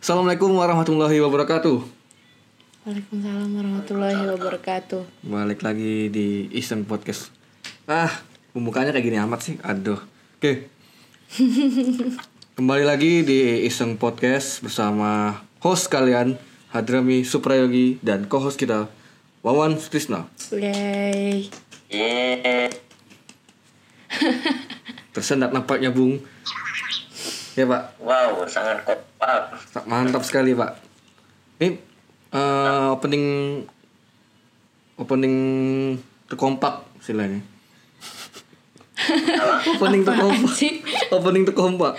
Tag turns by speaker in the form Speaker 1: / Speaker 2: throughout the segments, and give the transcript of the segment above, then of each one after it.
Speaker 1: Assalamualaikum warahmatullahi wabarakatuh.
Speaker 2: Waalaikumsalam warahmatullahi wabarakatuh.
Speaker 1: Balik lagi di Eastern Podcast. Ah, pembukanya kayak gini amat sih. Aduh. Oke. Kembali lagi di Eastern Podcast bersama host kalian Hadrami Suprayogi dan co-host kita Wawan Krisna.
Speaker 2: Yay.
Speaker 1: Tersendat nampaknya Bung. Ya Pak,
Speaker 3: Wow, sangat kompak.
Speaker 1: mantap sekali Pak. Ini eh, opening opening terkompak istilahnya. opening terkompak.
Speaker 2: sih?
Speaker 1: opening terkompak.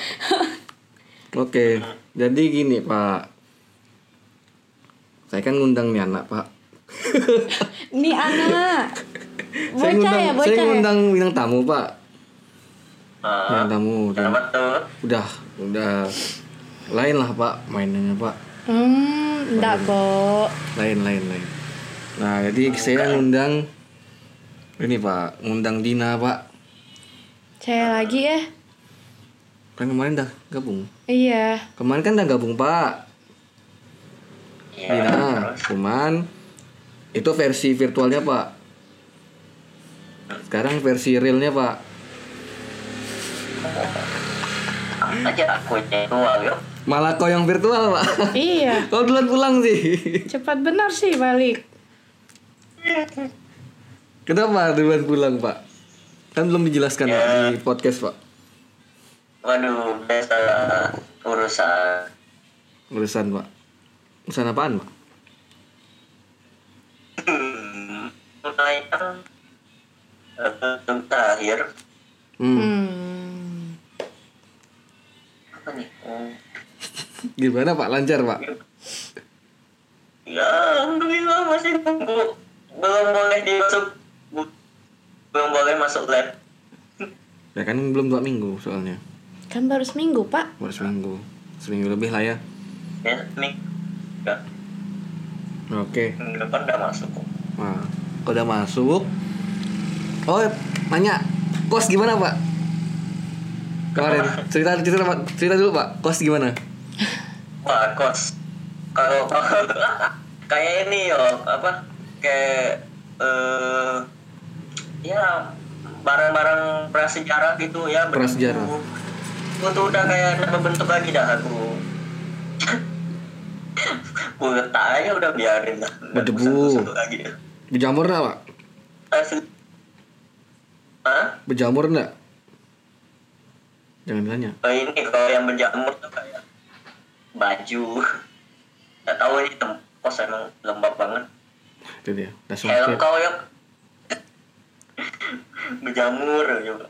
Speaker 1: Oke, jadi gini Pak. Saya kan ngundang nih anak Pak.
Speaker 2: Ini anak.
Speaker 1: saya
Speaker 2: Bocah
Speaker 1: ngundang, saya
Speaker 2: ya, bocah ya.
Speaker 1: ngundang bintang tamu Pak.
Speaker 3: Nah,
Speaker 1: Bintang tamu. udah-
Speaker 3: kenapa tuh?
Speaker 1: Udah, udah. Lain lah Pak mainannya Pak.
Speaker 2: Hmm, enggak, Bo.
Speaker 1: lain lain lain nah jadi saya ngundang ini pak ngundang Dina pak
Speaker 2: Saya lagi ya.
Speaker 1: kan kemarin dah gabung
Speaker 2: Iya.
Speaker 1: kemarin kan dah gabung pak
Speaker 3: Iya,
Speaker 1: Dina cuman itu versi virtualnya pak sekarang versi realnya pak
Speaker 3: aja aku jual yuk.
Speaker 1: malah kau yang virtual pak
Speaker 2: Iya.
Speaker 1: kau duluan pulang sih
Speaker 2: Cepat benar sih balik.
Speaker 1: kenapa duluan pulang pak kan belum dijelaskan Pak, di podcast pak
Speaker 3: Waduh, biasa urusan.
Speaker 1: urusan pak urusan apaan pak
Speaker 3: Hmm, Mulai kan eh, yang terakhir
Speaker 1: hmm.
Speaker 2: Hmm.
Speaker 3: apa nih? Hmm,
Speaker 1: gimana pak lancar pak
Speaker 3: Ya, alhamdulillah masih nunggu. Belum boleh dimasuk, bu- belum boleh masuk lab.
Speaker 1: ya kan belum dua minggu soalnya
Speaker 2: Kan baru seminggu, Pak.
Speaker 1: baru seminggu seminggu lebih lah ya
Speaker 3: Ya, nih, ya,
Speaker 1: oke
Speaker 3: minggu depan udah masuk. kok.
Speaker 1: nah kalau udah masuk oh nanya kos gimana pak kemarin cerita cerita pak cerita dulu pak kos gimana
Speaker 3: Wah, kos. Kalau kayak ini yo, apa? Kayak eh ya barang-barang prasejarah gitu ya. bentuk.
Speaker 1: Prasejarah.
Speaker 3: Aku tuh udah kayak ada bentuk lagi dah aku. Gue letak aja udah biarin dah. Nggak
Speaker 1: Berdebu.
Speaker 3: kusut-kusut lagi dah.
Speaker 1: berjamur nggak pak
Speaker 3: Asli. Hah?
Speaker 1: berjamur nggak jangan tanya
Speaker 3: Oh, ini kalau yang berjamur tuh kayak baju. Gak tahu ini tem- kos emang lembab banget.
Speaker 1: itu dia udah
Speaker 3: Helm
Speaker 1: sempit
Speaker 3: kau yang berjamur juga.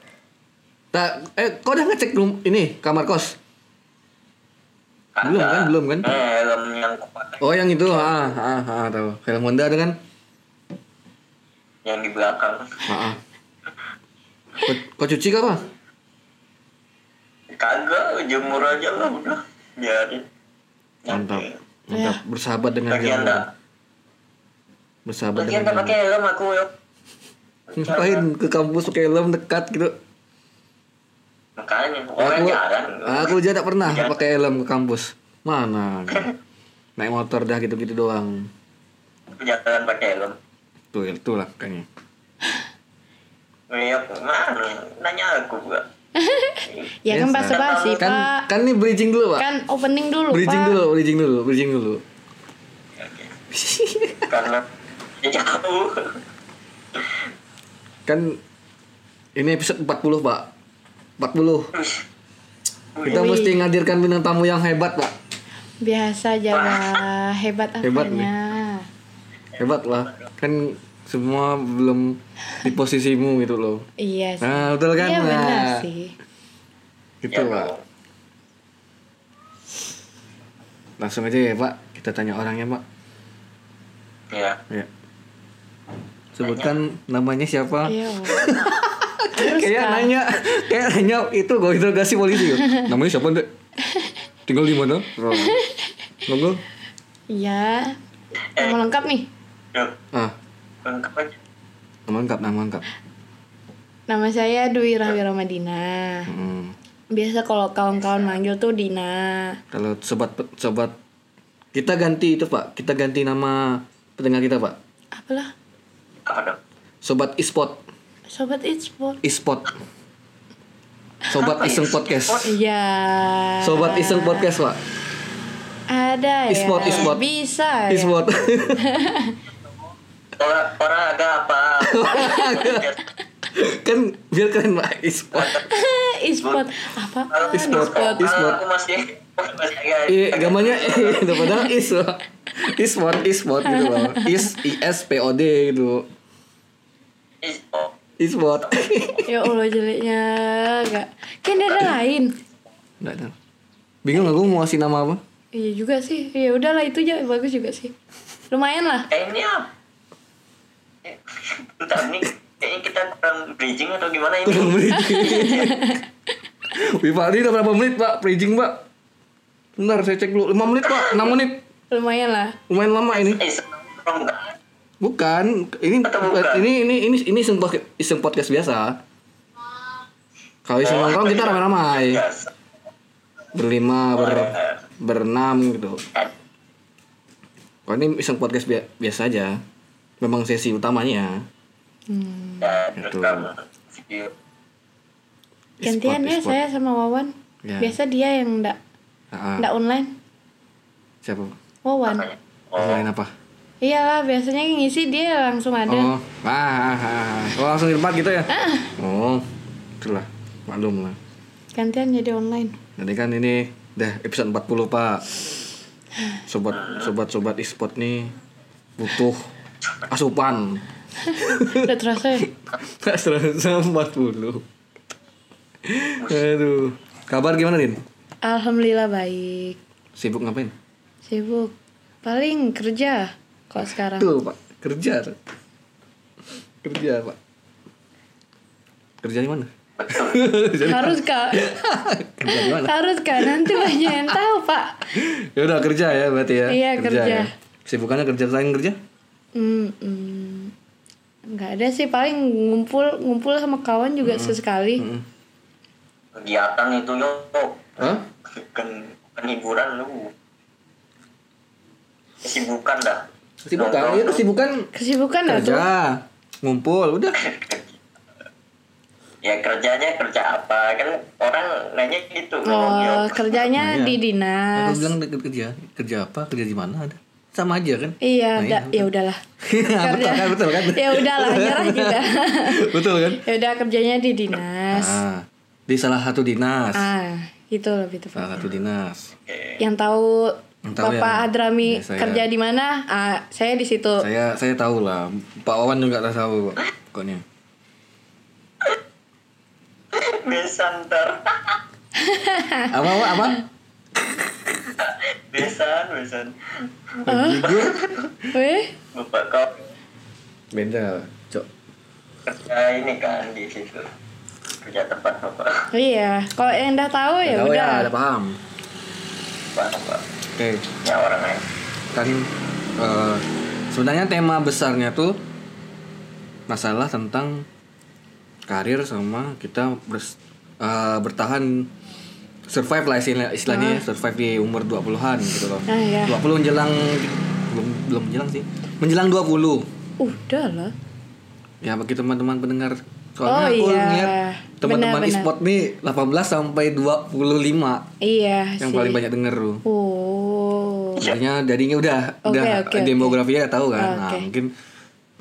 Speaker 1: Nah, eh kau udah ngecek belum ini kamar kos Belum kan, belum kan?
Speaker 3: Eh, helm yang kuat
Speaker 1: oh yang itu ah ah ah tahu helm Honda ada kan
Speaker 3: yang di belakang.
Speaker 1: ah, ah. Kau, kau cuci gak pak
Speaker 3: Kagak, jemur aja lah udah. Biarin.
Speaker 1: mantap
Speaker 3: Nanti.
Speaker 1: mantap bersahabat dengan
Speaker 3: Lagi
Speaker 1: jamuran.
Speaker 3: Iya. anda,
Speaker 1: bersahabat
Speaker 3: lagi
Speaker 1: dengan
Speaker 3: anda pakai helm aku yuk.
Speaker 1: jamuran. ngapain ke kampus pakai helm dekat gitu
Speaker 3: Makanya, orang
Speaker 1: aku
Speaker 3: jalan.
Speaker 1: aku aja tak pernah
Speaker 3: Jalan.
Speaker 1: pakai helm ke kampus mana naik motor dah gitu gitu doang
Speaker 3: Jalan pakai helm.
Speaker 1: tuh itulah kayaknya
Speaker 3: Iya, mana? Nanya aku gak.
Speaker 2: Ya kan
Speaker 1: Biasa.
Speaker 2: bahasa basi,
Speaker 1: kan
Speaker 2: Pak.
Speaker 1: kan nih bridging dulu pak
Speaker 2: Kan opening dulu,
Speaker 1: bridging
Speaker 2: Pak.
Speaker 1: dulu bridging dulu bridging dulu
Speaker 3: Karena jauh.
Speaker 1: kan ini episode 40 pak 40 kita
Speaker 2: Wih.
Speaker 1: mesti menghadirkan bintang tamu yang hebat pak
Speaker 2: Biasa aja lah. Hebat
Speaker 1: Hebat nih.
Speaker 2: apanya.
Speaker 1: hebat lah kan semua belum di posisimu gitu loh
Speaker 2: Iya sih.
Speaker 1: nah betul kan
Speaker 2: Iya
Speaker 1: Nah,
Speaker 2: benar sih.
Speaker 1: gitu
Speaker 3: Ya,
Speaker 1: pak langsung aja ya pak kita tanya orangnya pak
Speaker 3: Ya.
Speaker 1: ya sebutkan namanya siapa
Speaker 2: Iya. Bo.
Speaker 1: kayak
Speaker 2: Kak.
Speaker 1: nanya kayak nanya itu gue interogasi polisi ya. namanya siapa dek tinggal di mana Oh. ngobrol
Speaker 2: Iya. Nama lengkap nih.
Speaker 3: Yuk,
Speaker 1: ah
Speaker 3: lengkap aja.
Speaker 1: nama lengkap nama lengkap
Speaker 2: Nama saya Dwi Rahwira Madina.
Speaker 1: Hmm.
Speaker 2: Biasa kalau kawan-kawan manggil tuh Dina.
Speaker 1: kalau sobat sobat Kita ganti itu pak, kita ganti nama pendengar kita pak.
Speaker 2: Apalah?
Speaker 3: Apa dong?
Speaker 1: Sobat e-sport,
Speaker 2: Sobat e-sport.
Speaker 1: e-sport. Sobat iseng podcast.
Speaker 2: Iya.
Speaker 1: Sobat iseng podcast pak.
Speaker 2: Ada ya.
Speaker 1: E-sport, e-sport.
Speaker 2: Bisa. ya?
Speaker 1: E-sport.
Speaker 3: Orang orang ada apa?
Speaker 1: kan biar keren pak e-sport.
Speaker 2: E-sport. Apa?
Speaker 1: E-sport. E-sport.
Speaker 3: Aku masih masih agak.
Speaker 1: I, Iya, gambarnya I, gitu. padahal is loh. E-sport, e-sport gitu loh. Is, I S P O D gitu.
Speaker 3: E-sport.
Speaker 1: E-sport.
Speaker 2: Ya Allah jeleknya enggak. Kan ada lain.
Speaker 1: Enggak tahu. Bingung aku mau kasih nama apa?
Speaker 2: Iya juga sih. Ya udahlah itu aja bagus juga sih. Lumayan lah.
Speaker 3: Eh ini apa? Eh, Bentar nih. Kayaknya kita kurang bridging atau gimana ini?
Speaker 1: Kurang bridging. Wih Pak, ini udah berapa menit Pak? Bridging Pak. Bentar saya cek dulu. 5 menit Pak, 6 menit.
Speaker 2: Lumayan lah.
Speaker 1: Lumayan lama ini.
Speaker 3: Eh, senang orang enggak?
Speaker 1: Bukan, ini eh,
Speaker 3: Atau bukan?
Speaker 1: ini ini ini ini iseng podcast, iseng podcast biasa. Kalau iseng Eh,
Speaker 3: Oh, Iya.
Speaker 1: nongkrong kita ramai-ramai.
Speaker 3: Biasa.
Speaker 1: Berlima,
Speaker 3: Oh,
Speaker 1: ber
Speaker 3: iya.
Speaker 1: berenam gitu. Kalau ini iseng podcast bia- biasa aja. Memang sesi utamanya.
Speaker 2: Hmm.
Speaker 3: Ya, terus
Speaker 1: Gitu.
Speaker 3: kamu video.
Speaker 2: Gantian ya
Speaker 1: E-sport,
Speaker 2: saya sama Wawan.
Speaker 1: Ya.
Speaker 2: Biasa dia yang enggak
Speaker 1: e-sport. Ah, ah.
Speaker 2: enggak online.
Speaker 1: Siapa?
Speaker 2: Wawan.
Speaker 3: Oh,
Speaker 1: Selain apa?
Speaker 2: Iyalah, biasanya yang ngisi dia langsung ada. Ah.
Speaker 1: Oh, ah, ah, ah. Oh, langsung di tempat gitu ya? Oh, itulah, maklum lah.
Speaker 2: Gantian jadi online.
Speaker 1: Jadi kan ini udah episode 40 pak. Sobat, sobat, sobat e-sport nih butuh asupan.
Speaker 2: Udah terasa ya?
Speaker 1: Gak serasa 40. Aduh, kabar gimana Din?
Speaker 2: Alhamdulillah baik.
Speaker 1: Sibuk ngapain?
Speaker 2: Sibuk. Paling kerja kok sekarang.
Speaker 1: Tuh pak, kerja. Kerja pak. Kerja di mana?
Speaker 2: Harus Kak.
Speaker 1: Kerja di mana?
Speaker 2: Harus Kak. Nanti banyak yang tahu, Pak.
Speaker 1: Ya udah kerja ya berarti ya.
Speaker 2: Iya, kerja.
Speaker 1: ya. Sibukannya kerja selain kerja?
Speaker 2: Hmm, hmm. Nggak ada sih paling ngumpul ngumpul sama kawan juga sesekali.
Speaker 1: Hmm.
Speaker 3: kegiatan itu yo.
Speaker 1: Hah?
Speaker 3: Bukan, bukan hiburan lu. Kesibukan dah.
Speaker 1: Sibukan,
Speaker 3: Nongkrong
Speaker 1: iya
Speaker 3: tuh.
Speaker 1: kesibukan
Speaker 2: Kesibukan nggak
Speaker 1: kerja,
Speaker 2: tuh?
Speaker 1: ngumpul, udah.
Speaker 3: Ya kerjanya kerja apa? Kan orang nanya gitu. yo.
Speaker 2: Oh, kerjanya
Speaker 1: Nah, iya.
Speaker 2: di dinas.
Speaker 1: Aku bilang ke- kerja, kerja apa, kerja di mana ada. Sama aja kan?
Speaker 2: Iya,
Speaker 1: Nah,
Speaker 2: da- ya udahlah.
Speaker 1: betul kan, betul kan?
Speaker 2: ya udahlah, nyerah juga.
Speaker 1: betul kan?
Speaker 2: ya udah kerjanya di dinas.
Speaker 1: Ah, di salah satu dinas.
Speaker 2: Ah, itu lebih tepat.
Speaker 1: Salah satu dinas.
Speaker 2: Yang tahu
Speaker 1: Yang tahu
Speaker 2: Bapak
Speaker 1: yang-
Speaker 2: Adrami
Speaker 1: ya, saya.
Speaker 2: kerja di mana? Ah, saya di situ.
Speaker 1: Saya saya tahu lah. Pak Wawan juga lah tahu kok. Pokoknya.
Speaker 3: Besan ntar.
Speaker 2: Ah.
Speaker 1: Apa apa? apa?
Speaker 3: Besan, besan.
Speaker 1: Bagi gue
Speaker 2: Weh,
Speaker 3: Bapak kau
Speaker 1: beda, Cok.
Speaker 3: kerja ini kan di situ. Kerja tempat bapak.
Speaker 2: oh iya. Kalau yang udah tahu ya
Speaker 1: Tahu
Speaker 2: udah.
Speaker 1: ya, udah paham.
Speaker 3: Bapak, bapak.
Speaker 1: Oke.
Speaker 3: Ya orang lain.
Speaker 1: kan eh, sebenarnya tema besarnya tuh masalah tentang karir sama kita bers- eh, bertahan survive lah istilah- istilahnya ya, survive di umur 20-an gitu loh.
Speaker 2: Ah, iya.
Speaker 1: 20 menjelang belum belum menjelang sih. Menjelang 20.
Speaker 2: Udah lah.
Speaker 1: Ya bagi teman-teman pendengar soalnya
Speaker 2: Oh,
Speaker 1: aku
Speaker 2: iya.
Speaker 1: ngeliat teman-teman
Speaker 2: Benar, benar.
Speaker 1: e-sport nih 18 sampai 25
Speaker 2: Iya
Speaker 1: yang
Speaker 2: sih.
Speaker 1: paling banyak denger tuh.
Speaker 2: Oh.
Speaker 1: Jadinya jadinya Iya. udah
Speaker 2: Oke,
Speaker 1: udah
Speaker 2: oke,
Speaker 1: demografinya udah tahu kan.
Speaker 2: Ah,
Speaker 1: Nah,
Speaker 2: oke.
Speaker 1: mungkin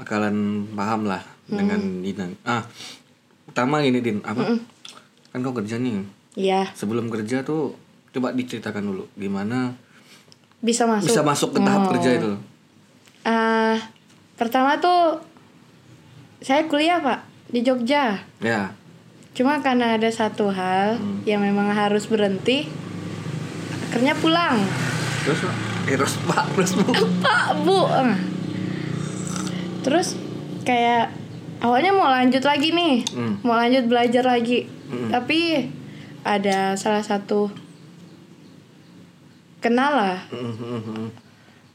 Speaker 1: bakalan paham lah dengan
Speaker 2: Hmm.
Speaker 1: Dinan. Ah, pertama gini Din, apa? Kan kau kerja nih.
Speaker 2: Iya,
Speaker 1: Sebelum kerja tuh coba diceritakan dulu gimana
Speaker 2: bisa masuk.
Speaker 1: bisa masuk ke tahap
Speaker 2: Oh.
Speaker 1: kerja itu.
Speaker 2: Ah, pertama tuh saya kuliah, Pak, di Jogja.
Speaker 1: Ya.
Speaker 2: Cuma karena ada satu hal
Speaker 1: Hmm.
Speaker 2: yang memang harus berhenti, akhirnya pulang.
Speaker 1: Terus Pak? Eh, terus Pak, terus Bu. Ya.
Speaker 2: Pak, Bu. eh. Terus kayak awalnya mau lanjut lagi nih,
Speaker 1: Hmm.
Speaker 2: mau lanjut belajar lagi.
Speaker 1: Mm-mm.
Speaker 2: Tapi ada salah satu kenal lah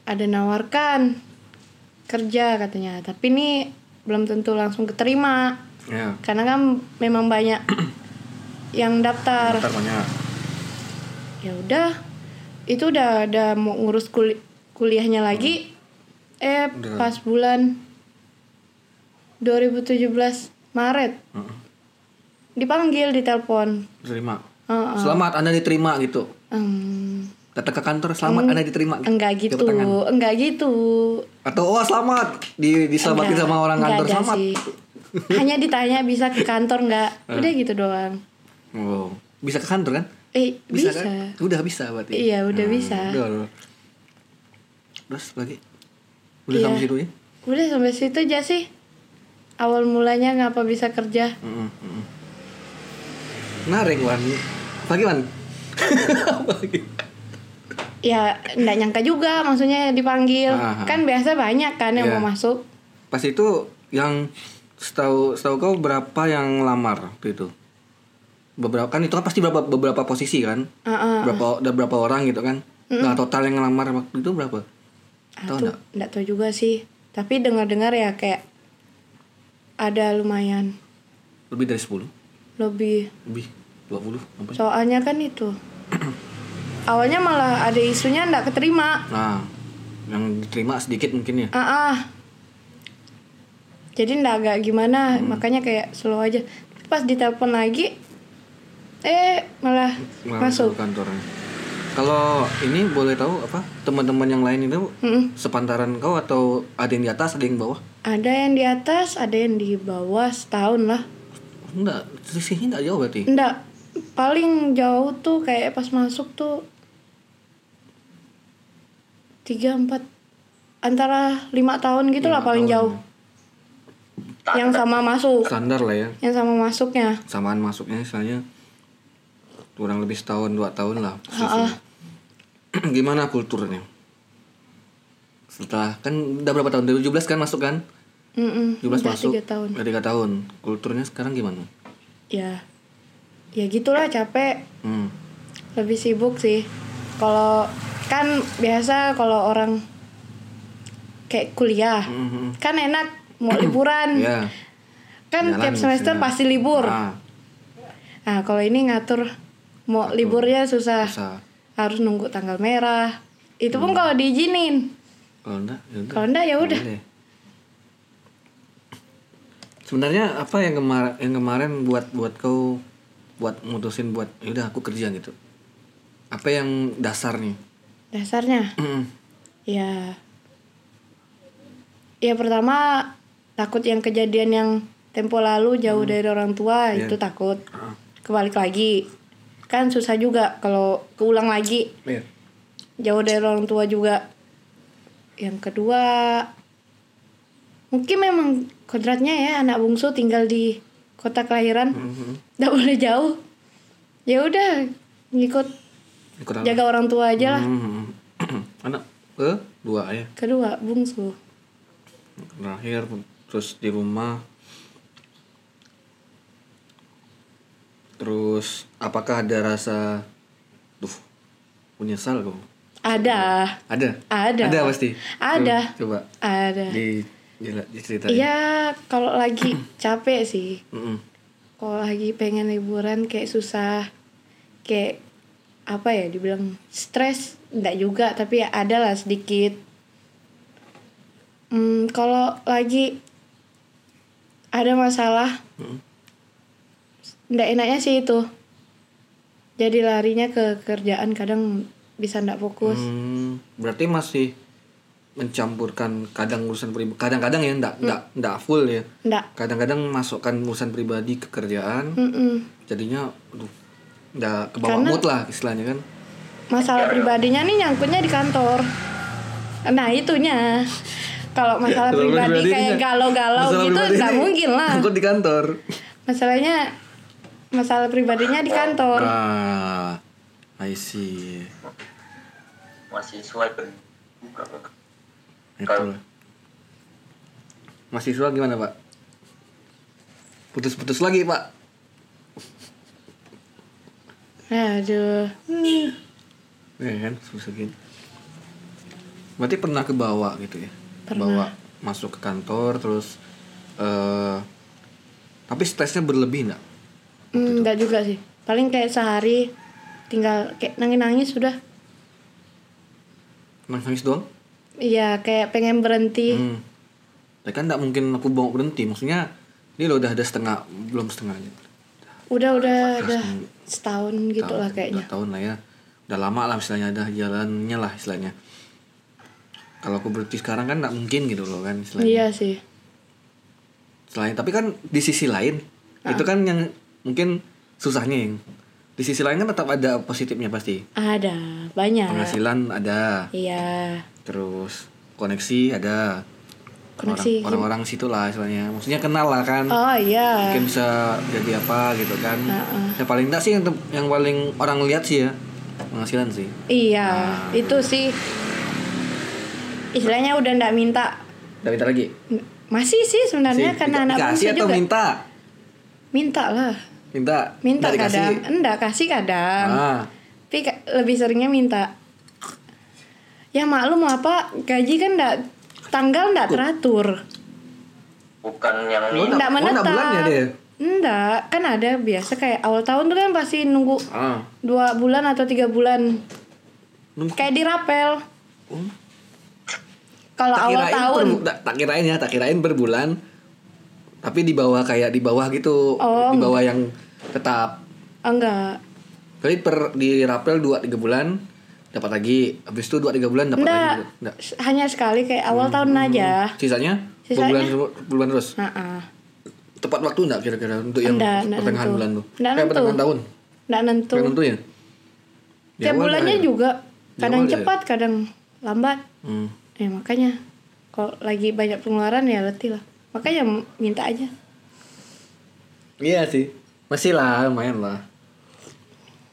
Speaker 2: ada nawarkan kerja katanya tapi ini belum tentu langsung keterima
Speaker 1: ya.
Speaker 2: karena kan memang banyak yang daftar
Speaker 1: Ntar banyak.
Speaker 2: ya udah itu udah ada mau ngurus kuliah kuliahnya lagi eh
Speaker 1: Hmm. Udah.
Speaker 2: pas bulan 2017 Maret
Speaker 1: Heeh.
Speaker 2: dipanggil ditelepon
Speaker 1: Terima.
Speaker 2: Heeh.
Speaker 1: Selamat Anda diterima gitu.
Speaker 2: Em,
Speaker 1: Datang ke kantor selamat Anda diterima. gitu.
Speaker 2: Hmm. enggak
Speaker 1: Tepuk
Speaker 2: gitu
Speaker 1: tangan.
Speaker 2: enggak gitu
Speaker 1: Atau oh selamat di diselamatin
Speaker 2: Enggak,
Speaker 1: sama Eh. orang
Speaker 2: enggak
Speaker 1: kantor
Speaker 2: ada
Speaker 1: selamat.
Speaker 2: sih. hanya ditanya bisa ke kantor nggak udah gitu doang
Speaker 1: Oh, bisa ke kantor kan?
Speaker 2: eh bisa,
Speaker 1: kan? Udah bisa berarti. Hmm,
Speaker 2: Iya, udah bisa.
Speaker 1: Udah, udah. Terus lagi. Udah
Speaker 2: Iya.
Speaker 1: sampai situ ya?
Speaker 2: udah sampai situ aja sih awal mulanya ngapa bisa kerja
Speaker 1: Mm-mm, mm-mm. Hmm, Menarik, Wan. Lagi, Wan. Lagi.
Speaker 2: ya nggak nyangka juga maksudnya dipanggil
Speaker 1: Aha.
Speaker 2: kan biasa banyak kan yang
Speaker 1: Ah, Iya.
Speaker 2: mau masuk
Speaker 1: Pas itu yang setahu setahu kau berapa yang lamar waktu itu? Beberapa kan itu kan pasti beberapa beberapa posisi kan?
Speaker 2: Heeh.
Speaker 1: Berapa ada berapa orang gitu kan? Nah, total yang ngelamar waktu itu berapa? Tahu
Speaker 2: Aduh,
Speaker 1: nggak?
Speaker 2: nggak tahu juga sih tapi dengar-dengar ya kayak ada lumayan
Speaker 1: Lebih dari 10.
Speaker 2: lebih
Speaker 1: Lebih 20 apa? ya?
Speaker 2: soalnya kan itu awalnya malah ada isunya nggak keterima
Speaker 1: Nah, yang diterima sedikit mungkin ya.
Speaker 2: ah ah. jadi nggak agak gimana
Speaker 1: Hmm.
Speaker 2: makanya kayak slow aja pas ditelepon lagi eh malah
Speaker 1: masuk
Speaker 2: masuk
Speaker 1: kantornya. Kalau ini boleh tahu apa teman-teman yang lain itu
Speaker 2: Mm-mm.
Speaker 1: sepantaran kau atau ada yang di atas ada yang di bawah?
Speaker 2: ada yang di atas ada yang di bawah setahun lah
Speaker 1: Enggak, selisihnya enggak jauh berarti.
Speaker 2: Enggak, paling jauh tuh kayak pas masuk tuh tiga empat antara lima tahun gitulah
Speaker 1: Lima
Speaker 2: paling
Speaker 1: tahun.
Speaker 2: jauh yang sama masuk
Speaker 1: Standar lah ya,
Speaker 2: yang sama masuknya
Speaker 1: samaan masuknya misalnya kurang lebih setahun dua tahun lah. selisihnya. Gimana kulturnya? Setelah kan udah berapa tahun? 2017 kan masuk kan? 17
Speaker 2: Mm-mm, udah
Speaker 1: masuk.
Speaker 2: tiga tahun
Speaker 1: Udah tiga tahun. Kulturnya sekarang gimana?
Speaker 2: ya ya gitulah capek
Speaker 1: Hmm.
Speaker 2: lebih sibuk sih kalau kan biasa kalau orang kayak kuliah
Speaker 1: Mhm.
Speaker 2: kan enak mau liburan
Speaker 1: Ya.
Speaker 2: kan
Speaker 1: jalan
Speaker 2: tiap semester
Speaker 1: maksudnya.
Speaker 2: pasti libur
Speaker 1: Ah,
Speaker 2: Nah, kalau ini ngatur mau liburnya susah.
Speaker 1: susah. Hmm.
Speaker 2: Harus nunggu tanggal merah. Itu pun kalau diizinin.
Speaker 1: Kalau enggak, ya udah.
Speaker 2: Kalau enggak ya udah.
Speaker 1: Boleh. Sebenarnya apa yang kemarin yang kemarin buat buat kau buat mutusin buat "Ya udah aku kerja gitu. Apa yang dasar nih?
Speaker 2: Dasarnya ya ya pertama takut yang kejadian yang tempo lalu jauh dari orang tua
Speaker 1: Hmm. Iya.
Speaker 2: itu takut.
Speaker 1: Ah.
Speaker 2: Kebalik lagi. Kan susah juga kalau keulang lagi
Speaker 1: Iya.
Speaker 2: jauh dari orang tua juga. Yang kedua mungkin memang kodratnya ya anak bungsu tinggal di kota kelahiran.
Speaker 1: Hmm.
Speaker 2: nggak boleh jauh ya udah ngikut
Speaker 1: Ah.
Speaker 2: jaga orang tua aja lah
Speaker 1: Hmm. Anak ke dua ya.
Speaker 2: kedua bungsu
Speaker 1: Terakhir terus di rumah. Terus apakah ada rasa duh menyesal kau?
Speaker 2: ada
Speaker 1: Ada.
Speaker 2: Ada.
Speaker 1: Ada pasti.
Speaker 2: Ada.
Speaker 1: Coba
Speaker 2: ada
Speaker 1: di jela- diceritain.
Speaker 2: iya kalau lagi capek sih
Speaker 1: Mm-mm.
Speaker 2: kalau lagi pengen liburan kayak susah kayak apa ya dibilang stres enggak juga tapi ya ada lah sedikit hmm, kalau lagi ada masalah
Speaker 1: Mm-mm.
Speaker 2: ndak enaknya sih itu jadi larinya ke kerjaan kadang bisa ndak fokus
Speaker 1: Hmm, berarti masih mencampurkan kadang urusan pribadi, kadang-kadang ya enggak enggak
Speaker 2: Hmm.
Speaker 1: enggak full ya.
Speaker 2: ndak
Speaker 1: Kadang-kadang masukkan urusan pribadi ke kerjaan,
Speaker 2: Mm-mm.
Speaker 1: jadinya aduh enggak kebawa
Speaker 2: Hmm. Karena-
Speaker 1: mood lah istilahnya kan.
Speaker 2: masalah pribadinya nih nyangkutnya di kantor nah itunya kalau masalah pribadi kayak galau-galau gitu nggak mungkin lah
Speaker 1: Ikut di kantor.
Speaker 2: masalahnya masalah pribadinya di kantor
Speaker 1: Ah, I see.
Speaker 3: mahasiswa dan
Speaker 1: Itu. Mahasiswa gimana pak? Putus-putus lagi pak?
Speaker 2: Nah, aduh
Speaker 1: Ya kan, susah gini. Berarti pernah ke bawah gitu ya?
Speaker 2: Pernah.
Speaker 1: Bawa masuk ke kantor terus. eh tapi stresnya berlebih nggak?
Speaker 2: Hmm, nggak juga sih paling kayak sehari tinggal kayak nangis-nangis sudah
Speaker 1: Nangis doang?
Speaker 2: Iya, kayak pengen berhenti.
Speaker 1: Hmm. Tapi kan nggak mungkin aku bawa berhenti. Maksudnya ini lo udah ada setengah belum setengah aja.
Speaker 2: Udah udah udah setahun gitu lah
Speaker 1: Udah
Speaker 2: kayaknya.
Speaker 1: tahun lah ya. Udah lama lah istilahnya ada jalannya lah istilahnya. Kalau aku berhenti sekarang kan nggak mungkin gitu loh kan istilahnya.
Speaker 2: Iya sih.
Speaker 1: Selain tapi kan di sisi lain
Speaker 2: Ah.
Speaker 1: itu kan yang mungkin susahnya yang di sisi lain kan tetap ada positifnya pasti.
Speaker 2: Iya. Ada banyak.
Speaker 1: Penghasilan ada.
Speaker 2: Iya.
Speaker 1: Terus koneksi ada.
Speaker 2: Koneksi.
Speaker 1: Orang- Orang-orang situ lah istilahnya. Maksudnya kenal lah kan.
Speaker 2: Oh iya.
Speaker 1: mungkin bisa jadi apa gitu kan
Speaker 2: Heeh.
Speaker 1: ya paling enggak sih yang, tem- yang paling orang lihat sih ya penghasilan sih
Speaker 2: Iya,
Speaker 1: Ah.
Speaker 2: itu sih istilahnya udah ndak minta
Speaker 1: udah minta lagi
Speaker 2: masih sih sebenarnya
Speaker 1: Sih,
Speaker 2: karena
Speaker 1: dika-
Speaker 2: anak
Speaker 1: dikasih
Speaker 2: bungsu
Speaker 1: atau
Speaker 2: juga
Speaker 1: minta
Speaker 2: minta lah
Speaker 1: minta
Speaker 2: minta
Speaker 1: Nggak dikasih.
Speaker 2: kadang enggak kasih kadang
Speaker 1: ah
Speaker 2: tapi ka- lebih seringnya minta ya maklum apa gaji kan enggak tanggal enggak teratur
Speaker 3: bukan yang
Speaker 1: Lu nak- oh, enggak
Speaker 2: enggak
Speaker 3: minta
Speaker 2: menetap
Speaker 1: bulan ya dia?
Speaker 2: enggak kan ada biasa kayak awal tahun tuh kan pasti nunggu
Speaker 1: ah
Speaker 2: dua bulan atau tiga bulan
Speaker 1: Nunggu.
Speaker 2: kayak dirapel
Speaker 1: Oh.
Speaker 2: kalau
Speaker 1: tak
Speaker 2: awal
Speaker 1: kirain per,
Speaker 2: tahun
Speaker 1: tak- tak kirain ya tak kirain per bulan tapi di bawah kayak di bawah gitu
Speaker 2: Oh.
Speaker 1: di bawah yang tetap
Speaker 2: enggak
Speaker 1: kali per di rapel 2 3 bulan dapat lagi habis itu 2 3 bulan dapat lagi
Speaker 2: enggak
Speaker 1: gitu. Nggak.
Speaker 2: S- hanya sekali kayak awal
Speaker 1: Hmm,
Speaker 2: tahun aja
Speaker 1: sisanya,
Speaker 2: Sisanya?
Speaker 1: bulan bulan terus
Speaker 2: nah
Speaker 1: tepat waktu enggak kira-kira untuk yang
Speaker 2: Enggak, enggak
Speaker 1: pertengahan
Speaker 2: nentu.
Speaker 1: bulan tuh?
Speaker 2: Enggak
Speaker 1: eh,
Speaker 2: nentu.
Speaker 1: pertengahan tahun.
Speaker 2: enggak nentu
Speaker 1: Enggak nentu ya? Di
Speaker 2: tiap
Speaker 1: awal
Speaker 2: bulannya
Speaker 1: enggak ya?
Speaker 2: juga
Speaker 1: Di
Speaker 2: kadang
Speaker 1: awal ya?
Speaker 2: cepat kadang lambat
Speaker 1: Hmm.
Speaker 2: ya makanya kalau lagi banyak pengeluaran ya letih lah makanya m- minta aja
Speaker 1: Iya sih. Masih lah, lumayan lah.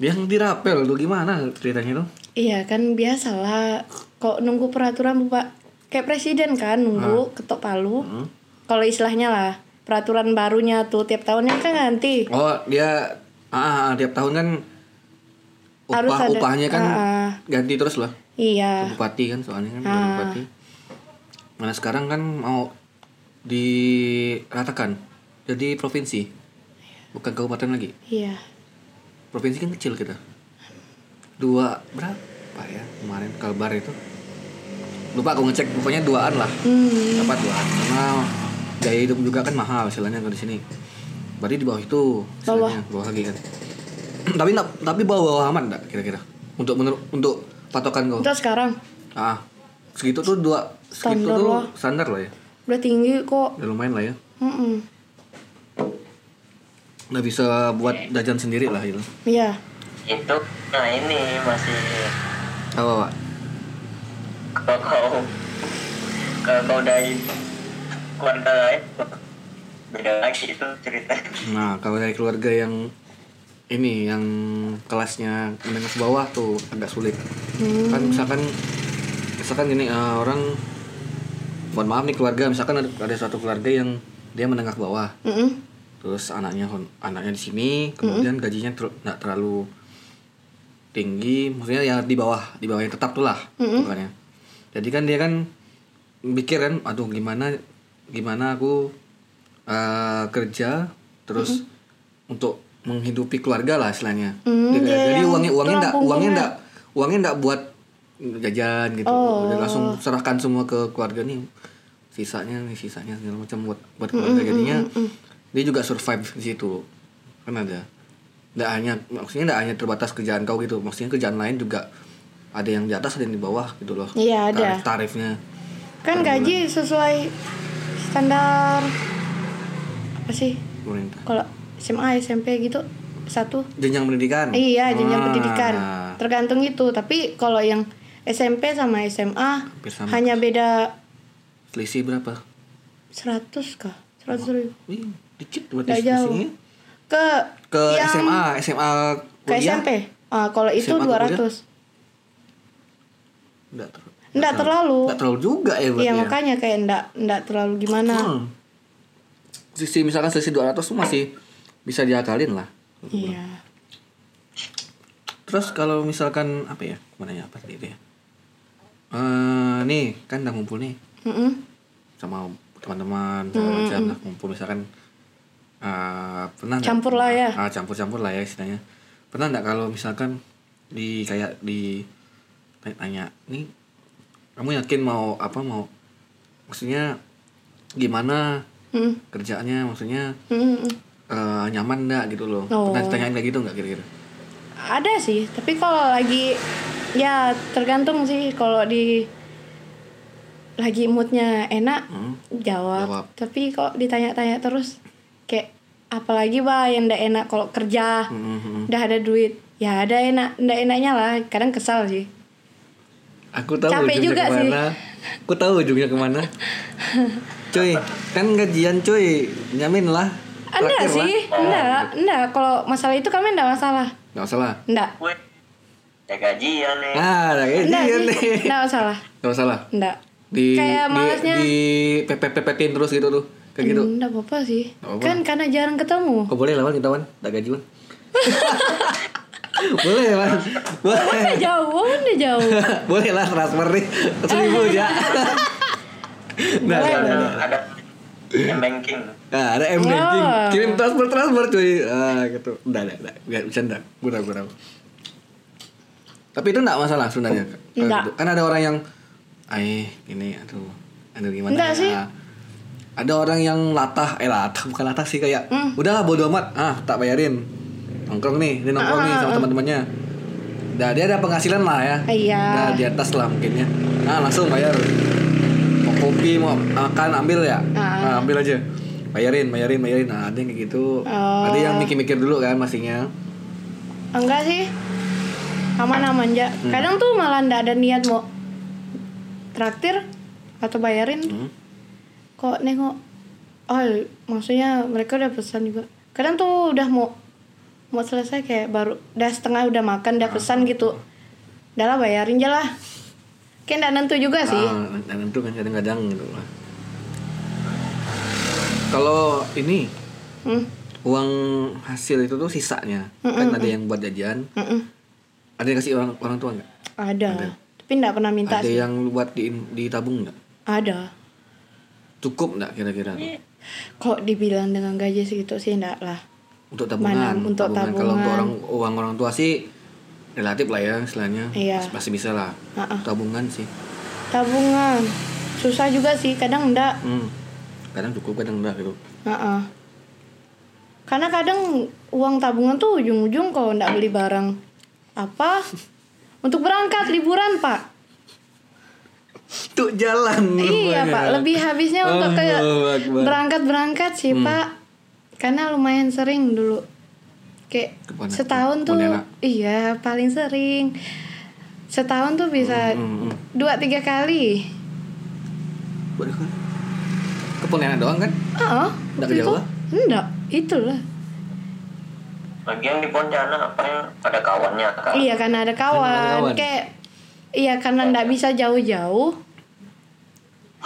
Speaker 1: Yang dirapel tuh gimana ceritanya tuh?
Speaker 2: iya kan biasalah kok nunggu peraturan pak kayak presiden kan nunggu ketok palu
Speaker 1: Hmm.
Speaker 2: kalau istilahnya lah peraturan barunya tuh tiap tahunnya kan ganti
Speaker 1: Oh, dia ah, ah, tiap tahun kan
Speaker 2: Harus
Speaker 1: upah
Speaker 2: ada-
Speaker 1: upahnya kan
Speaker 2: ah, ah.
Speaker 1: ganti terus lah.
Speaker 2: iya
Speaker 1: Bupati kan soalnya kan
Speaker 2: Ah.
Speaker 1: bupati. Mana sekarang kan mau diratakan jadi provinsi. Bukan kabupaten lagi.
Speaker 2: iya
Speaker 1: provinsi kan kecil kita dua berapa ya kemarin kalbar itu lupa aku ngecek pokoknya duaan lah
Speaker 2: hmm
Speaker 1: dapat duaan karena gaya hidup juga kan mahal istilahnya kalau di sini berarti di bawah itu istilahnya. bawah lagi kan tapi nggak tapi bawah bawah aman nggak kira-kira untuk menurut untuk patokan kau
Speaker 2: terus sekarang
Speaker 1: ah segitu tuh dua segitu
Speaker 2: Standar
Speaker 1: tuh
Speaker 2: lah.
Speaker 1: standar lah ya
Speaker 2: udah tinggi kok Hmm,
Speaker 1: udah lumayan lah ya
Speaker 2: Mm-mm.
Speaker 1: udah bisa buat jajan sendiri lah gitu. itu
Speaker 2: Iya,
Speaker 3: itu nah ini masih
Speaker 1: apa pak
Speaker 3: kalau kau kalau kau dari keluarga lain beda lagi itu cerita
Speaker 1: Nah, kalau dari keluarga yang ini yang kelasnya menengah ke bawah tuh agak sulit. Kan misalkan misalkan gini eh, orang mohon maaf nih keluarga misalkan ada, ada suatu keluarga yang dia menengah ke bawah.
Speaker 2: Mm-mm.
Speaker 1: Terus anaknya anaknya di sini, kemudian gajinya ter- nggak terlalu tinggi, maksudnya ya di bawah, di bawah yang tetap tuh lah pokoknya. Jadi kan dia kan mikir kan, aduh gimana gimana aku eh, kerja terus untuk menghidupi keluarga lah istilahnya.
Speaker 2: Mm,
Speaker 1: Jadi-
Speaker 2: dia
Speaker 1: jadi
Speaker 2: yang
Speaker 1: uangnya uangnya
Speaker 2: tulang
Speaker 1: enggak uangnya
Speaker 2: punggungnya.
Speaker 1: enggak uangnya enggak buat jajan gitu.
Speaker 2: Oh.
Speaker 1: Udah langsung serahkan semua ke keluarga nih. Sisanya nih, sisanya segala macam buat buat keluarga jadinya dia juga survive di situ. Kan ada. Nggak hanya maksudnya nggak hanya terbatas kerjaan kau gitu. Maksudnya kerjaan lain juga ada yang di atas ada yang di bawah gitu loh.
Speaker 2: Iya, ada.
Speaker 1: Tarif-tarifnya.
Speaker 2: kan gaji sesuai standar apa sih?
Speaker 1: Pemerintah.
Speaker 2: Kalau SMA, SMP gitu satu.
Speaker 1: Jenjang pendidikan.
Speaker 2: Iya, jenjang
Speaker 1: Ah,
Speaker 2: pendidikan. Tergantung itu, tapi kalau yang SMP sama SMA
Speaker 1: Hampir sama.
Speaker 2: hanya beda
Speaker 1: Selisih berapa?
Speaker 2: 100 kah? 100 ribu.
Speaker 1: Wih, dikit buat
Speaker 2: Nggak jauh.
Speaker 1: selisihnya.
Speaker 2: Ke
Speaker 1: Ke
Speaker 2: yang-
Speaker 1: SMA, SMA
Speaker 2: Ke
Speaker 1: kuliah.
Speaker 2: SMP. Ah, kalau itu
Speaker 1: SMA ke
Speaker 2: 200.
Speaker 1: Enggak ter
Speaker 2: Nggak terlalu.
Speaker 1: Enggak terlalu juga ya berarti.
Speaker 2: Iya,
Speaker 1: ya.
Speaker 2: makanya kayak enggak enggak terlalu gimana.
Speaker 1: Hmm. Sisi misalkan selisih 200 tuh masih bisa diakalin lah.
Speaker 2: Iya.
Speaker 1: Terus kalau misalkan apa ya? Mau nanya apa tadi dia? Eh, nih kan udah ngumpul nih
Speaker 2: Mm-mm.
Speaker 1: sama teman-teman segala
Speaker 2: Hmm,
Speaker 1: macam lah ngumpul misalkan eh, pernah nggak-
Speaker 2: Campur lah ya.
Speaker 1: Ah, campur-campur lah ya istilahnya pernah nggak kalau misalkan di kayak di tanya nih kamu yakin mau apa mau maksudnya gimana
Speaker 2: Hmm.
Speaker 1: kerjaannya maksudnya
Speaker 2: Hmm, hmm.
Speaker 1: eh, nyaman nggak gitu loh
Speaker 2: Oh.
Speaker 1: pernah ditanyain kayak gitu nggak kira-kira
Speaker 2: Ada sih, tapi kalau lagi ya tergantung sih kalau di lagi moodnya enak
Speaker 1: Hmm.
Speaker 2: jawab.
Speaker 1: Jawab.
Speaker 2: Tapi kalau ditanya-tanya terus kayak apalagi bah yang ndak enak kalau kerja
Speaker 1: Hmm, hmm, hmm.
Speaker 2: udah ada duit ya ada enak ndak enaknya lah kadang kesal sih
Speaker 1: aku tahu
Speaker 2: Capek
Speaker 1: ujungnya
Speaker 2: juga sih.
Speaker 1: kemana aku tahu ujungnya kemana cuy kan gajian cuy nyamin lah Traktir
Speaker 2: enggak
Speaker 1: lah. Oh, gitu.
Speaker 2: sih enggak enggak kalau masalah itu kami enggak masalah
Speaker 1: nggak salah
Speaker 2: enggak
Speaker 3: gue ya gajian nih
Speaker 1: ah ada
Speaker 2: enggak
Speaker 1: gajian
Speaker 2: sih
Speaker 1: nih
Speaker 2: enggak masalah
Speaker 1: nggak salah
Speaker 2: enggak
Speaker 1: di
Speaker 2: Kayak
Speaker 1: di,
Speaker 2: malasnya.
Speaker 1: di pepet-pepetin terus gitu tuh kayak gitu
Speaker 2: enggak "Hmm, apa-apa sih
Speaker 1: Nggak apa-apa.
Speaker 2: kan karena jarang ketemu
Speaker 1: Kok boleh lawan kita wan? Tak gaji wan? boleh wan? Boleh.
Speaker 2: udah Eh, jauh udah jauh
Speaker 1: boleh lah transfer nih seribu aja. nah,
Speaker 2: Boleh.
Speaker 1: nah,
Speaker 3: ada
Speaker 1: nah.
Speaker 3: ada yang banking
Speaker 1: Nah, ada M banking
Speaker 2: Oh.
Speaker 1: kirim transfer transfer cuy ah, gitu udah udah udah nggak bercanda gurau gurau tapi itu nggak masalah sebenarnya Kak. Kalau
Speaker 2: Nggak.
Speaker 1: gitu. kan ada orang yang eh ini aduh aduh gimana
Speaker 2: Nggak
Speaker 1: ya?"
Speaker 2: sih.
Speaker 1: ada orang yang latah eh latah bukan latah sih kayak
Speaker 2: Hmm.
Speaker 1: udahlah bodo amat ah tak bayarin nongkrong nih dia nongkrong
Speaker 2: Ah,
Speaker 1: nih sama teman-temannya Nah, dia ada penghasilan lah ya.
Speaker 2: Iya.
Speaker 1: Nah, di atas lah mungkin ya. Nah, langsung bayar. Mau kopi, mau makan, ambil ya.
Speaker 2: Ah.
Speaker 1: Nah, ambil aja. Bayarin, bayarin, bayarin. Nah, ada yang kayak gitu.
Speaker 2: Oh.
Speaker 1: Ada yang mikir-mikir dulu kan pastinya.
Speaker 2: enggak sih aman-aman aja
Speaker 1: Hmm.
Speaker 2: kadang tuh malah ndak ada niat mau traktir atau bayarin
Speaker 1: Hmm.
Speaker 2: kok nengok oh maksudnya mereka udah pesan juga kadang tuh udah mau mau selesai kayak baru udah setengah udah makan
Speaker 1: Ah.
Speaker 2: udah pesan gitu udah lah bayarin aja lah kayak ndak nentu juga sih
Speaker 1: Ah, dan itu kan kadang-kadang gitu lah. Kalau ini
Speaker 2: Hmm,
Speaker 1: uang hasil itu tuh sisanya kan ada yang buat jajan,
Speaker 2: mm-mm.
Speaker 1: ada yang kasih orang orang tua nggak?
Speaker 2: ada. tapi ndak pernah minta
Speaker 1: Ada ya.
Speaker 2: sih
Speaker 1: yang buat di ditabung nggak?
Speaker 2: ada
Speaker 1: Cukup nggak kira-kira? tuh?
Speaker 2: kok dibilang dengan gaji segitu sih ndak lah
Speaker 1: untuk
Speaker 2: Mana
Speaker 1: tabungan,
Speaker 2: untuk
Speaker 1: kalau untuk
Speaker 2: tabungan.
Speaker 1: orang uang orang tua sih relatif lah ya istilahnya
Speaker 2: Iya.
Speaker 1: Mas- masih bisa lah
Speaker 2: Ha-ha.
Speaker 1: tabungan sih
Speaker 2: tabungan susah juga sih kadang ndak
Speaker 1: hmm. kadang cukup kadang enggak gitu
Speaker 2: Heeh. Karena kadang uang tabungan tuh ujung-ujung kalau ndak beli barang apa untuk berangkat liburan pak.
Speaker 1: untuk jalan rupanya.
Speaker 2: Iya pak, lebih habisnya untuk ke
Speaker 1: Allahu Akbar.
Speaker 2: berangkat berangkat sih
Speaker 1: Hmm.
Speaker 2: pak. Karena lumayan sering dulu, kayak
Speaker 1: Ke Pontianak.
Speaker 2: setahun tuh,
Speaker 1: Pontianak.
Speaker 2: iya paling sering. Setahun tuh bisa
Speaker 1: Hmm, hmm.
Speaker 2: dua tiga kali.
Speaker 1: Waduh, kan. ke Pontianak doang kan
Speaker 2: Oh,
Speaker 1: Ndak ke Jawa?
Speaker 2: Enggak, itulah.
Speaker 3: lagian di Pontianak apa yang ada kawannya kan
Speaker 2: Iya karena ada kawan,
Speaker 1: Karena ada kawan.
Speaker 2: kayak iya karena ndak bisa jauh-jauh